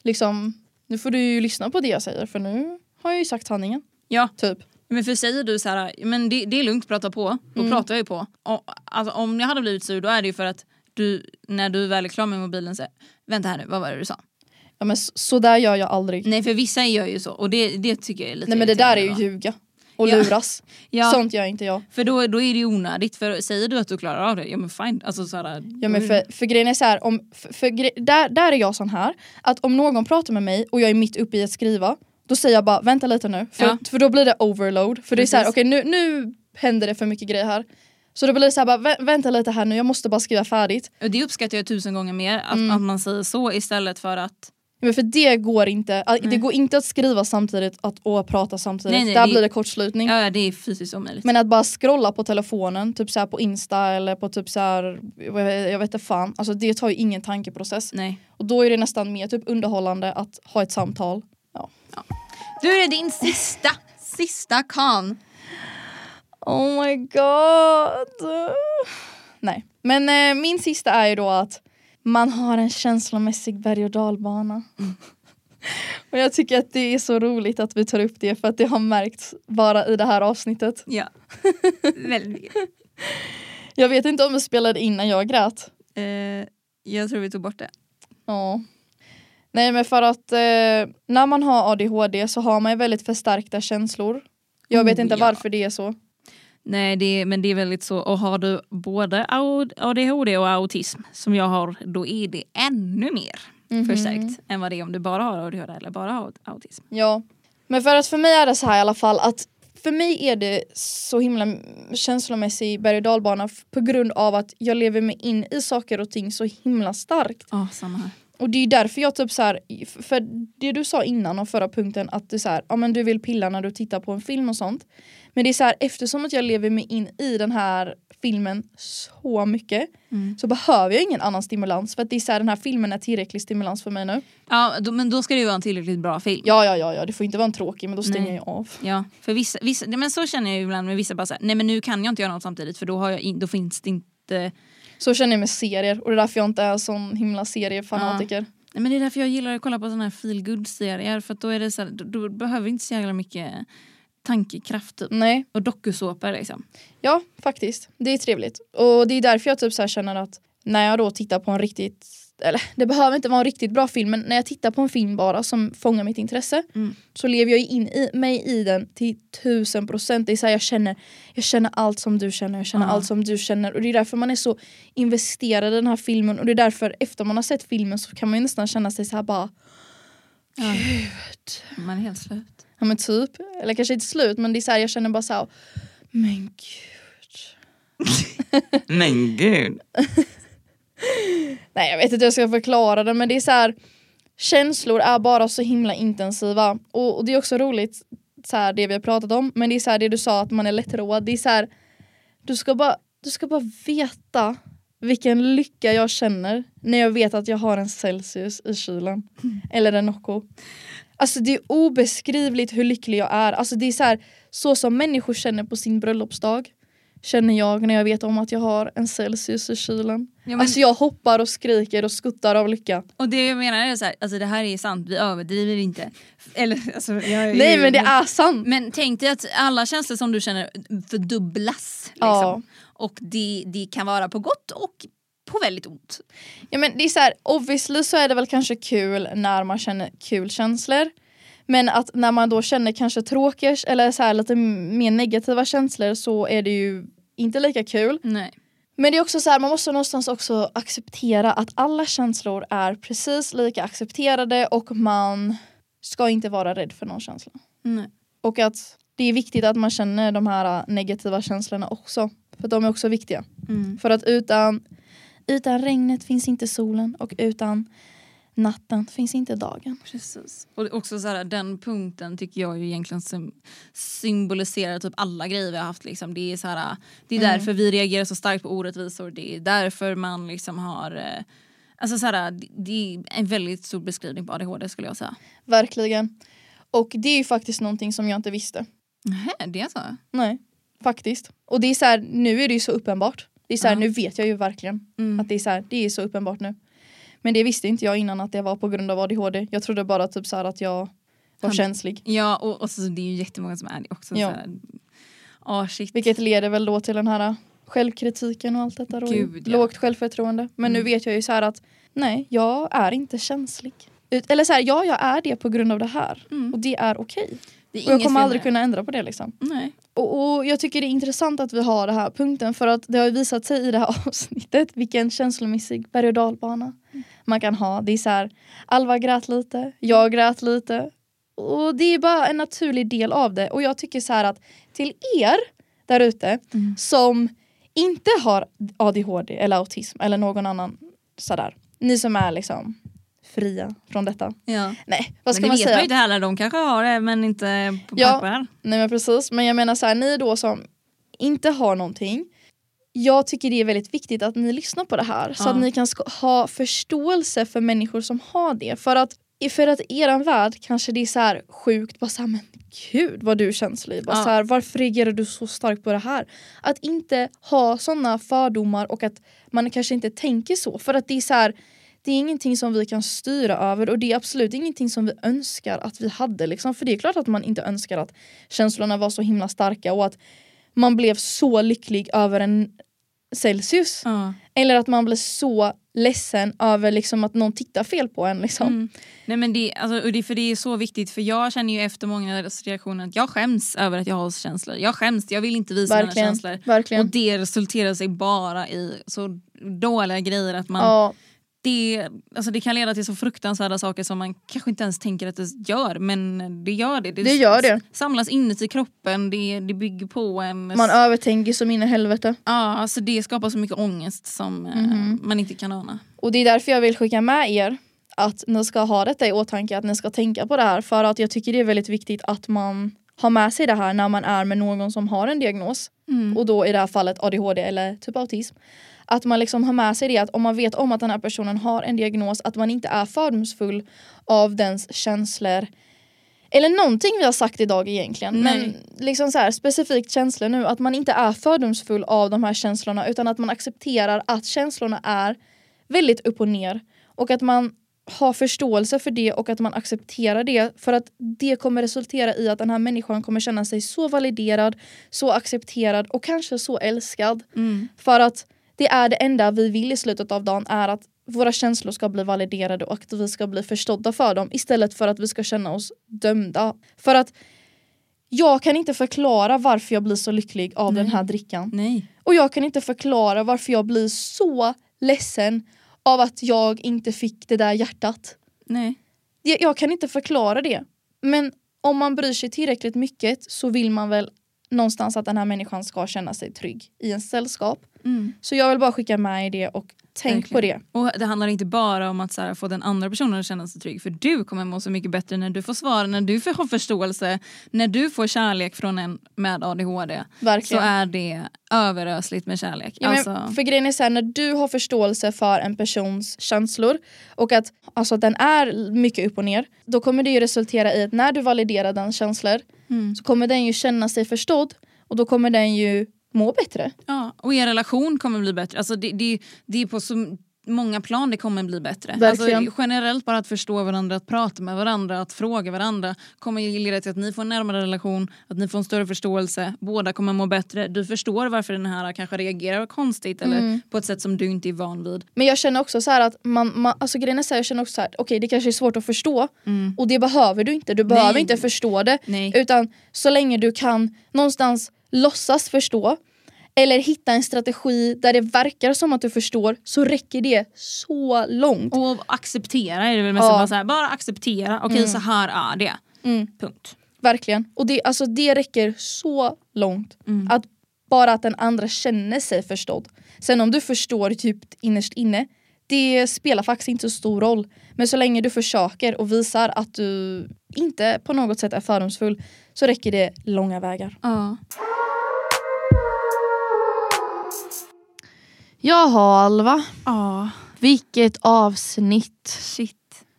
Speaker 1: Liksom, nu får du ju lyssna på det jag säger för nu har jag ju sagt sanningen.
Speaker 2: Ja,
Speaker 1: Typ.
Speaker 2: men för säger du så här, men det, det är lugnt, prata på. Då
Speaker 1: Mm.
Speaker 2: pratar jag ju på. Och, alltså, om jag hade blivit sur då är det ju för att du, när du väl är klar med mobilen säger vänta här nu, vad var det du sa?
Speaker 1: Ja men så, så där gör jag aldrig.
Speaker 2: Nej för vissa gör ju så och det, det tycker jag är lite
Speaker 1: Nej men det där är ju
Speaker 2: irriterande, va?
Speaker 1: ljuga och
Speaker 2: Ja.
Speaker 1: luras.
Speaker 2: Ja.
Speaker 1: Sånt gör inte jag.
Speaker 2: För då, då är det ju onödigt, för säger du att du klarar av det, ja men fine. Alltså, så här,
Speaker 1: Ja, men för, för grejen är så här, om, för, för, gre- där, där är jag sån här, att om någon pratar med mig och jag är mitt uppe i att skriva, då säger jag bara vänta lite nu, för,
Speaker 2: Ja.
Speaker 1: för då blir det overload. För det är så här,
Speaker 2: Precis.
Speaker 1: okej nu, nu händer det för mycket grejer här. Så då blir det så här, bara, "Vä- vänta lite här nu, jag måste bara skriva färdigt.
Speaker 2: Och det uppskattar jag tusen gånger mer, att, att man säger så istället för att
Speaker 1: Ja, Men för det går inte, Att- det går inte att skriva samtidigt att, och prata samtidigt,
Speaker 2: Nej, nej,
Speaker 1: där
Speaker 2: det-
Speaker 1: blir det kortslutning.
Speaker 2: ja, ja, det är fysiskt omöjligt.
Speaker 1: Men att bara scrolla på telefonen, typ så här på Insta eller på typ så här, vad jag- jag vet inte fan, alltså det tar ju ingen tankeprocess.
Speaker 2: Nej.
Speaker 1: Och då är det nästan mer typ underhållande att ha ett samtal. Ja.
Speaker 2: Du är din sista, sista kan.
Speaker 1: Oh my god. Nej, men eh, min sista är ju då att man har en känslomässig berg och dalbana. och jag tycker att det är så roligt att vi tar upp det för att det har märkts bara i det här avsnittet.
Speaker 2: Ja. Väldigt.
Speaker 1: Jag vet inte om vi spelade in när jag grät.
Speaker 2: Eh, jag tror vi tog bort det.
Speaker 1: Ja. Nej men för att eh, när man har ADHD så har man ju väldigt förstärkta känslor. Jag vet
Speaker 2: Oh,
Speaker 1: inte
Speaker 2: ja.
Speaker 1: varför det är så.
Speaker 2: Nej, det, är- men det är väldigt så. Och har du både au- ADHD och autism, som jag har, då är det ännu mer förstärkt än vad det är om du bara har ADHD eller bara har autism.
Speaker 1: Ja. Men för att för mig är det så här i alla fall att för mig är det så himla känslomässig berg och dalbana f- på grund av att jag lever mig in i saker och ting så himla starkt.
Speaker 2: Ja, samma här.
Speaker 1: Och det är ju därför jag typ så här, f- för det du sa innan om förra punkten att du så här, ja men du vill pilla när du tittar på en film och sånt. Men det är så här, eftersom att jag lever mig in i den här filmen så mycket
Speaker 2: Mm.
Speaker 1: så behöver jag ingen annan stimulans för att det är så här, den här filmen är tillräcklig stimulans för mig nu.
Speaker 2: Ja, då, men då ska det ju vara en tillräckligt bra film.
Speaker 1: Ja ja ja, ja det får inte vara en tråkig men då stänger jag
Speaker 2: Nej.
Speaker 1: ju av.
Speaker 2: Ja, för vissa, vissa, nej, men så känner jag ju ibland med vissa bara så här, nej men nu kan jag inte göra något samtidigt för då, har jag in, då finns det inte,
Speaker 1: Så känner jag med serier och det är därför jag inte är sån himla seriefanatiker.
Speaker 2: nej men det är därför jag gillar att kolla på sådana här feel good serier för att då är det så här, då, då behöver vi inte så jävla mycket tankekraft typ.
Speaker 1: Nej,
Speaker 2: Och dokusåpor liksom.
Speaker 1: ja faktiskt. Det är trevligt. Och det är därför jag typ så här känner att när jag då tittar på en riktigt, eller det behöver inte vara en riktigt bra film men när jag tittar på en film bara som fångar mitt intresse
Speaker 2: Mm.
Speaker 1: så lever jag ju in i mig i den till tusen procent. Det är så här, jag känner, jag känner allt som du känner, jag känner
Speaker 2: Ja.
Speaker 1: allt som du känner och det är därför man är så investerad i den här filmen och det är därför efter man har sett filmen så kan man ju nästan känna sig så här bara
Speaker 2: Ja. Man är helt slut.
Speaker 1: Ja men typ, eller kanske inte slut men det är så här, jag känner bara så här, men gud.
Speaker 2: Men gud.
Speaker 1: Nej jag vet inte hur jag ska förklara det men det är så här, känslor är bara så himla intensiva och, och det är också roligt så här, det vi har pratat om men det är så här, det du sa att man är lättroad, det är så här, du ska bara, du ska bara veta vilken lycka jag känner när jag vet att jag har en Celsius i kylen.
Speaker 2: Mm.
Speaker 1: Eller en Nocco. Alltså det är obeskrivligt hur lycklig jag är. Alltså det är så här, så som människor känner på sin bröllopsdag känner jag när jag vet om att jag har en Celsius i kylen.
Speaker 2: Ja, men-
Speaker 1: Alltså jag hoppar och skriker och skuttar av lycka.
Speaker 2: Och det jag menar är så här, alltså det här är sant, vi överdriver inte. Eller, alltså, jag,
Speaker 1: Nej men det är sant!
Speaker 2: Men tänk dig att alla känslor som du känner fördubblas. Liksom.
Speaker 1: Ja.
Speaker 2: Och det, det kan vara på gott och på väldigt ont.
Speaker 1: Ja men det är så här, obviously så är det väl kanske kul när man känner kul känslor. Men att när man då känner kanske tråkiga eller så här lite m- mer negativa känslor så är det ju inte lika kul.
Speaker 2: Nej.
Speaker 1: Men det är också så här, man måste någonstans också acceptera att alla känslor är precis lika accepterade och man ska inte vara rädd för någon känsla.
Speaker 2: Nej.
Speaker 1: Och att det är viktigt att man känner de här negativa känslorna också. För de är också viktiga.
Speaker 2: Mm.
Speaker 1: För att utan, utan regnet finns inte solen och utan natten finns inte dagen.
Speaker 2: Precis. Och det är också så här, den punkten tycker jag ju egentligen sym- symboliserar typ alla grejer vi har haft. Liksom. Det är, så här, det är
Speaker 1: Mm.
Speaker 2: därför vi reagerar så starkt på orättvisor. Det är därför man liksom har... eh, Alltså så här, det- det är en väldigt stor beskrivning på ADHD skulle jag säga.
Speaker 1: Verkligen. Och det är ju faktiskt någonting som jag inte visste.
Speaker 2: Nähä, det är så?
Speaker 1: Nej, faktiskt. Och det är så här, nu är det ju så uppenbart. Det är så här,
Speaker 2: Ja.
Speaker 1: nu vet jag ju verkligen.
Speaker 2: Mm.
Speaker 1: Att det är så här, det är så uppenbart nu. Men det visste inte jag innan att det var på grund av ADHD. Jag trodde bara typ så här att jag var
Speaker 2: Han-
Speaker 1: känslig.
Speaker 2: Ja, och, och så, det är ju jättemånga som är det också.
Speaker 1: Ja.
Speaker 2: Så här, ah, shit.
Speaker 1: Vilket leder väl då till den här äh, självkritiken och allt detta. Då,
Speaker 2: Gud, ja.
Speaker 1: Lågt självförtroende. Men nu
Speaker 2: Mm.
Speaker 1: vet jag ju så här att nej, jag är inte känslig. Ut- Eller så här, ja jag är det på grund av det här.
Speaker 2: Mm.
Speaker 1: Och det är okej.
Speaker 2: Det är
Speaker 1: Och jag
Speaker 2: inget
Speaker 1: kommer
Speaker 2: fel
Speaker 1: aldrig
Speaker 2: med
Speaker 1: kunna ändra på det liksom.
Speaker 2: det. Nej.
Speaker 1: Och, och jag tycker det är intressant att vi har den här punkten för att det har ju visat sig i det här avsnittet vilken känslomässig berg och dalbana man kan ha. Det är så här, Alva grät lite, jag grät lite. Och det är bara en naturlig del av det och jag tycker så här att till er där ute
Speaker 2: Mm.
Speaker 1: som inte har ADHD eller autism eller någon annan sådär. Ni som är liksom fria från detta.
Speaker 2: Ja.
Speaker 1: Nej, vad ska
Speaker 2: men det
Speaker 1: man
Speaker 2: vet
Speaker 1: säga?
Speaker 2: man ju inte heller, de kanske har det men inte på
Speaker 1: Ja.
Speaker 2: papper.
Speaker 1: Nej men precis, men jag menar så här, ni då som inte har någonting jag tycker det är väldigt viktigt att ni lyssnar på det här så
Speaker 2: Ja.
Speaker 1: att ni kan sk- ha förståelse för människor som har det. För att i för att i eran värld kanske det är så här sjukt, bara så här, men gud vad du är känslig. Bara
Speaker 2: Ja.
Speaker 1: så här, varför reagerar du så starkt på det här? Att inte ha sådana fördomar och att man kanske inte tänker så. För att det är så här, det är ingenting som vi kan styra över och det är absolut ingenting som vi önskar att vi hade. Liksom. För det är klart att man inte önskar att känslorna var så himla starka och att man blev så lycklig över en Celsius.
Speaker 2: Ja.
Speaker 1: Eller att man blir så ledsen över liksom att någon tittar fel på en. Liksom.
Speaker 2: Mm. Nej, men det, alltså, och det, för det är så viktigt för jag känner ju efter många reaktioner att jag skäms över att jag har känslor. Jag skäms, jag vill inte visa mina
Speaker 1: Verkligen.
Speaker 2: känslor.
Speaker 1: Verkligen.
Speaker 2: Och det resulterar sig bara i så dåliga grejer att man
Speaker 1: ja,
Speaker 2: det, alltså det kan leda till så fruktansvärda saker som man kanske inte ens tänker att det gör men det gör det.
Speaker 1: Det gör det.
Speaker 2: samlas inuti kroppen, det, det bygger på en...
Speaker 1: man övertänker som in i helvete.
Speaker 2: ja, alltså det skapar så mycket ångest som eh,
Speaker 1: Mhm.
Speaker 2: man inte kan ana.
Speaker 1: Och det är därför jag vill skicka med er att ni ska ha detta i åtanke, att ni ska tänka på det här. För att jag tycker det är väldigt viktigt att man har med sig det här när man är med någon som har en diagnos.
Speaker 2: Mm.
Speaker 1: Och då i det här fallet ADHD eller typ autism. Att man liksom har med sig det att om man vet om att den här personen har en diagnos, att man inte är fördomsfull av dens känslor. Eller någonting vi har sagt idag egentligen.
Speaker 2: Nej.
Speaker 1: Men liksom så här, specifikt känslor nu, att man inte är fördomsfull av de här känslorna utan att man accepterar att känslorna är väldigt upp och ner. Och att man har förståelse för det och att man accepterar det för att det kommer resultera i att den här människan kommer känna sig så validerad, så accepterad och kanske så älskad.
Speaker 2: Mm.
Speaker 1: För att det är det enda vi vill i slutet av dagen är att våra känslor ska bli validerade och att vi ska bli förstådda för dem istället för att vi ska känna oss dömda. För att jag kan inte förklara varför jag blir så lycklig av
Speaker 2: Nej.
Speaker 1: den här drickan.
Speaker 2: Nej.
Speaker 1: Och jag kan inte förklara varför jag blir så ledsen av att jag inte fick det där hjärtat.
Speaker 2: Nej.
Speaker 1: Jag, jag kan inte förklara det. Men om man bryr sig tillräckligt mycket så vill man väl någonstans att den här människan ska känna sig trygg i en sällskap.
Speaker 2: Mm.
Speaker 1: Så jag vill bara skicka med er det och tänk på det.
Speaker 2: Verkligen. Och det handlar inte bara om att så här, få den andra personen att känna sig trygg för du kommer må så mycket bättre när du får svar, när du får, har förståelse, när du får kärlek från en med ADHD så
Speaker 1: Verkligen.
Speaker 2: är det överösligt med kärlek.
Speaker 1: Ja, men
Speaker 2: Alltså-
Speaker 1: För grejen är så här, när du har förståelse för en persons känslor och att, alltså att den är mycket upp och ner, då kommer det ju resultera i att när du validerar den känslor
Speaker 2: Mm.
Speaker 1: så kommer den ju känna sig förstådd och då kommer den ju må bättre.
Speaker 2: Ja, och er relation kommer bli bättre. Alltså det, det, det är på så många plan det kommer bli bättre.
Speaker 1: Verkligen.
Speaker 2: Alltså generellt bara att förstå varandra, att prata med varandra, att fråga varandra kommer ju leda till att ni får en närmare relation, att ni får en större förståelse, båda kommer må bättre. Du förstår varför den här kanske reagerar konstigt eller
Speaker 1: Mm.
Speaker 2: på ett sätt som du inte är van vid.
Speaker 1: Men jag känner också så här att man, man alltså grejen är så här, jag känner också så här, okej det kanske är svårt att förstå
Speaker 2: Mm.
Speaker 1: och det behöver du inte, du behöver
Speaker 2: Nej.
Speaker 1: inte förstå det
Speaker 2: Nej.
Speaker 1: utan så länge du kan någonstans låtsas förstå eller hitta en strategi där det verkar som att du förstår så räcker det så långt.
Speaker 2: Och acceptera är det väl mest
Speaker 1: Ja.
Speaker 2: bara, så här, bara acceptera, okej så här är det.
Speaker 1: Mm.
Speaker 2: Punkt.
Speaker 1: Verkligen. Och det, alltså, det räcker så långt.
Speaker 2: Mm.
Speaker 1: Att bara att den andra känner sig förstådd. Sen om du förstår djupt innerst inne, det spelar faktiskt inte så stor roll. Men så länge du försöker och visar att du inte på något sätt är fördomsfull så räcker det långa vägar.
Speaker 2: Ja.
Speaker 1: Jaha Alva,
Speaker 2: Ja,
Speaker 1: vilket avsnitt.
Speaker 2: shit.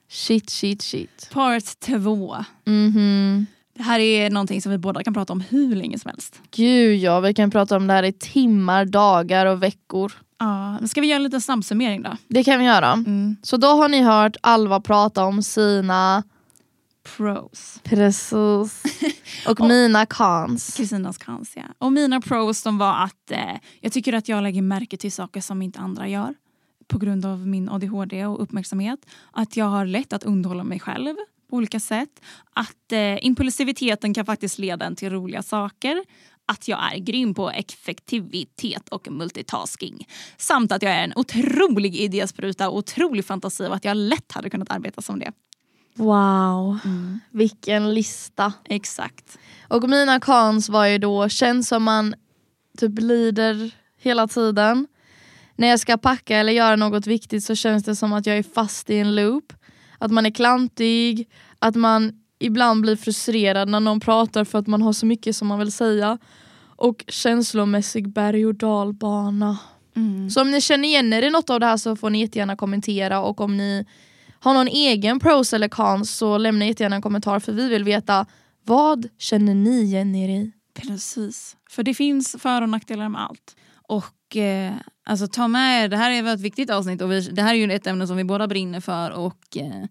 Speaker 1: Shit, shit, shit.
Speaker 2: Part två.
Speaker 1: Mhm.
Speaker 2: Det här är någonting som vi båda kan prata om hur länge som helst.
Speaker 1: Gud ja, vi kan prata om det här i timmar, dagar och veckor.
Speaker 2: Ja, men ska vi göra en liten snabbsummering då?
Speaker 1: Det kan vi göra. Så då har ni hört Alva prata om sina
Speaker 2: Pros.
Speaker 1: Precis. Och mina cons.
Speaker 2: Kristinas kans, ja. Och mina pros de var att eh, jag tycker att jag lägger märke till saker som inte andra gör på grund av min ADHD och uppmärksamhet. Att jag har lätt att underhålla mig själv på olika sätt. Att eh, impulsiviteten kan faktiskt leda en till roliga saker. Att jag är grym på effektivitet och multitasking. Samt att jag är en otrolig idéspruta och otrolig fantasi och att jag lätt hade kunnat arbeta som det.
Speaker 1: Wow, vilken lista.
Speaker 2: Exakt.
Speaker 1: Och mina cons var ju då, känns som man typ lider hela tiden. När jag ska packa eller göra något viktigt så känns det som att jag är fast i en loop. Att man är klantig, att man ibland blir frustrerad när någon pratar för att man har så mycket som man vill säga. Och känslomässig berg och dalbana. Så om ni känner igen er i något av det här så får ni jättegärna kommentera och om ni har någon egen pros eller cons så lämna jättegärna en kommentar för vi vill veta vad känner ni igen er i?
Speaker 2: Precis. För det finns för och nackdelar med allt. Och eh, alltså ta med er, det här är väl ett viktigt avsnitt och vi, det här är ju ett ämne som vi båda brinner för och eh,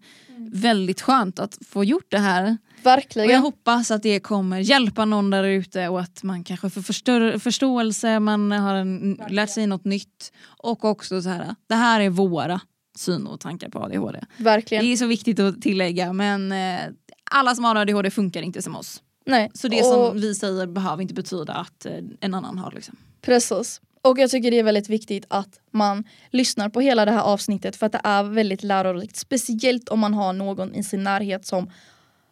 Speaker 2: väldigt skönt att få gjort det här. Och jag
Speaker 1: Verkligen.
Speaker 2: hoppas att det kommer hjälpa någon där ute och att man kanske får förstör- förståelse, man har en, lärt sig något nytt. Och också så här, det här är våra syn och tankar på ADHD.
Speaker 1: Verkligen.
Speaker 2: Det är så viktigt att tillägga men eh, alla som har ADHD funkar inte som oss.
Speaker 1: Nej.
Speaker 2: Så det
Speaker 1: och,
Speaker 2: som vi säger behöver inte betyda att eh, en annan har liksom.
Speaker 1: Precis. Och jag tycker det är väldigt viktigt att man lyssnar på hela det här avsnittet för att det är väldigt lärorikt. Speciellt om man har någon i sin närhet som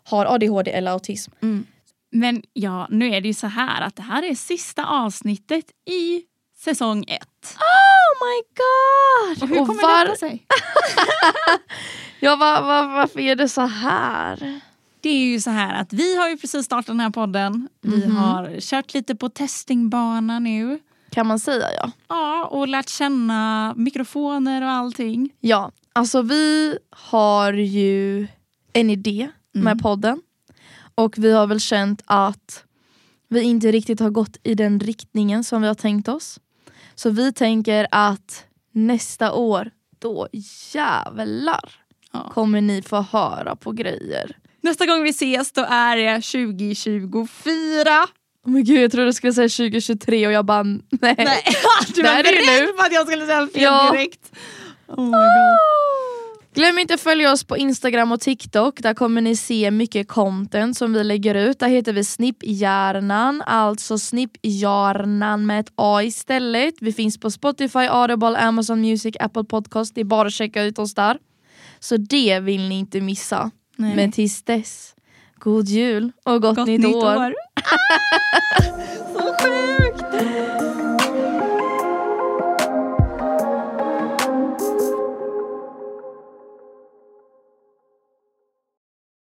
Speaker 1: har ADHD eller autism.
Speaker 2: Mm. Men ja, nu är det ju så här att det här är sista avsnittet i säsong ett.
Speaker 1: Oh my god!
Speaker 2: Ah, Och hur kommer
Speaker 1: var-
Speaker 2: detta sig?
Speaker 1: Ja, va, va, varför är det så här?
Speaker 2: Det är ju så här att vi har ju precis startat den här podden. Vi har kört lite på testingbana nu.
Speaker 1: Kan man säga ja.
Speaker 2: Ja, och lärt känna mikrofoner och allting.
Speaker 1: Ja, alltså vi har ju en idé
Speaker 2: Mm.
Speaker 1: med podden och vi har väl känt att vi inte riktigt har gått i den riktningen som vi har tänkt oss. Så vi tänker att nästa år, då jävlar
Speaker 2: Ja.
Speaker 1: kommer ni få höra på grejer.
Speaker 2: Nästa gång vi ses då är det 2024.
Speaker 1: Oh men gud, jag trodde du skulle säga 2023 och jag bara nej.
Speaker 2: Nej, du
Speaker 1: Där är
Speaker 2: var
Speaker 1: det
Speaker 2: beredd på att jag skulle säga fel
Speaker 1: Ja.
Speaker 2: direkt. Oh my god.
Speaker 1: Glöm inte att följa oss på Instagram och TikTok. Där kommer ni se mycket content som vi lägger ut. Där heter vi Snipphjärnan, alltså Snipphjärnan med ett A istället. Vi finns på Spotify, Audible, Amazon Music, Apple Podcast. Det är bara att checka ut oss där. Så det vill ni inte missa.
Speaker 2: Nej.
Speaker 1: Men tills dess, god jul och gott,
Speaker 2: Gott
Speaker 1: nytt, år.
Speaker 2: år.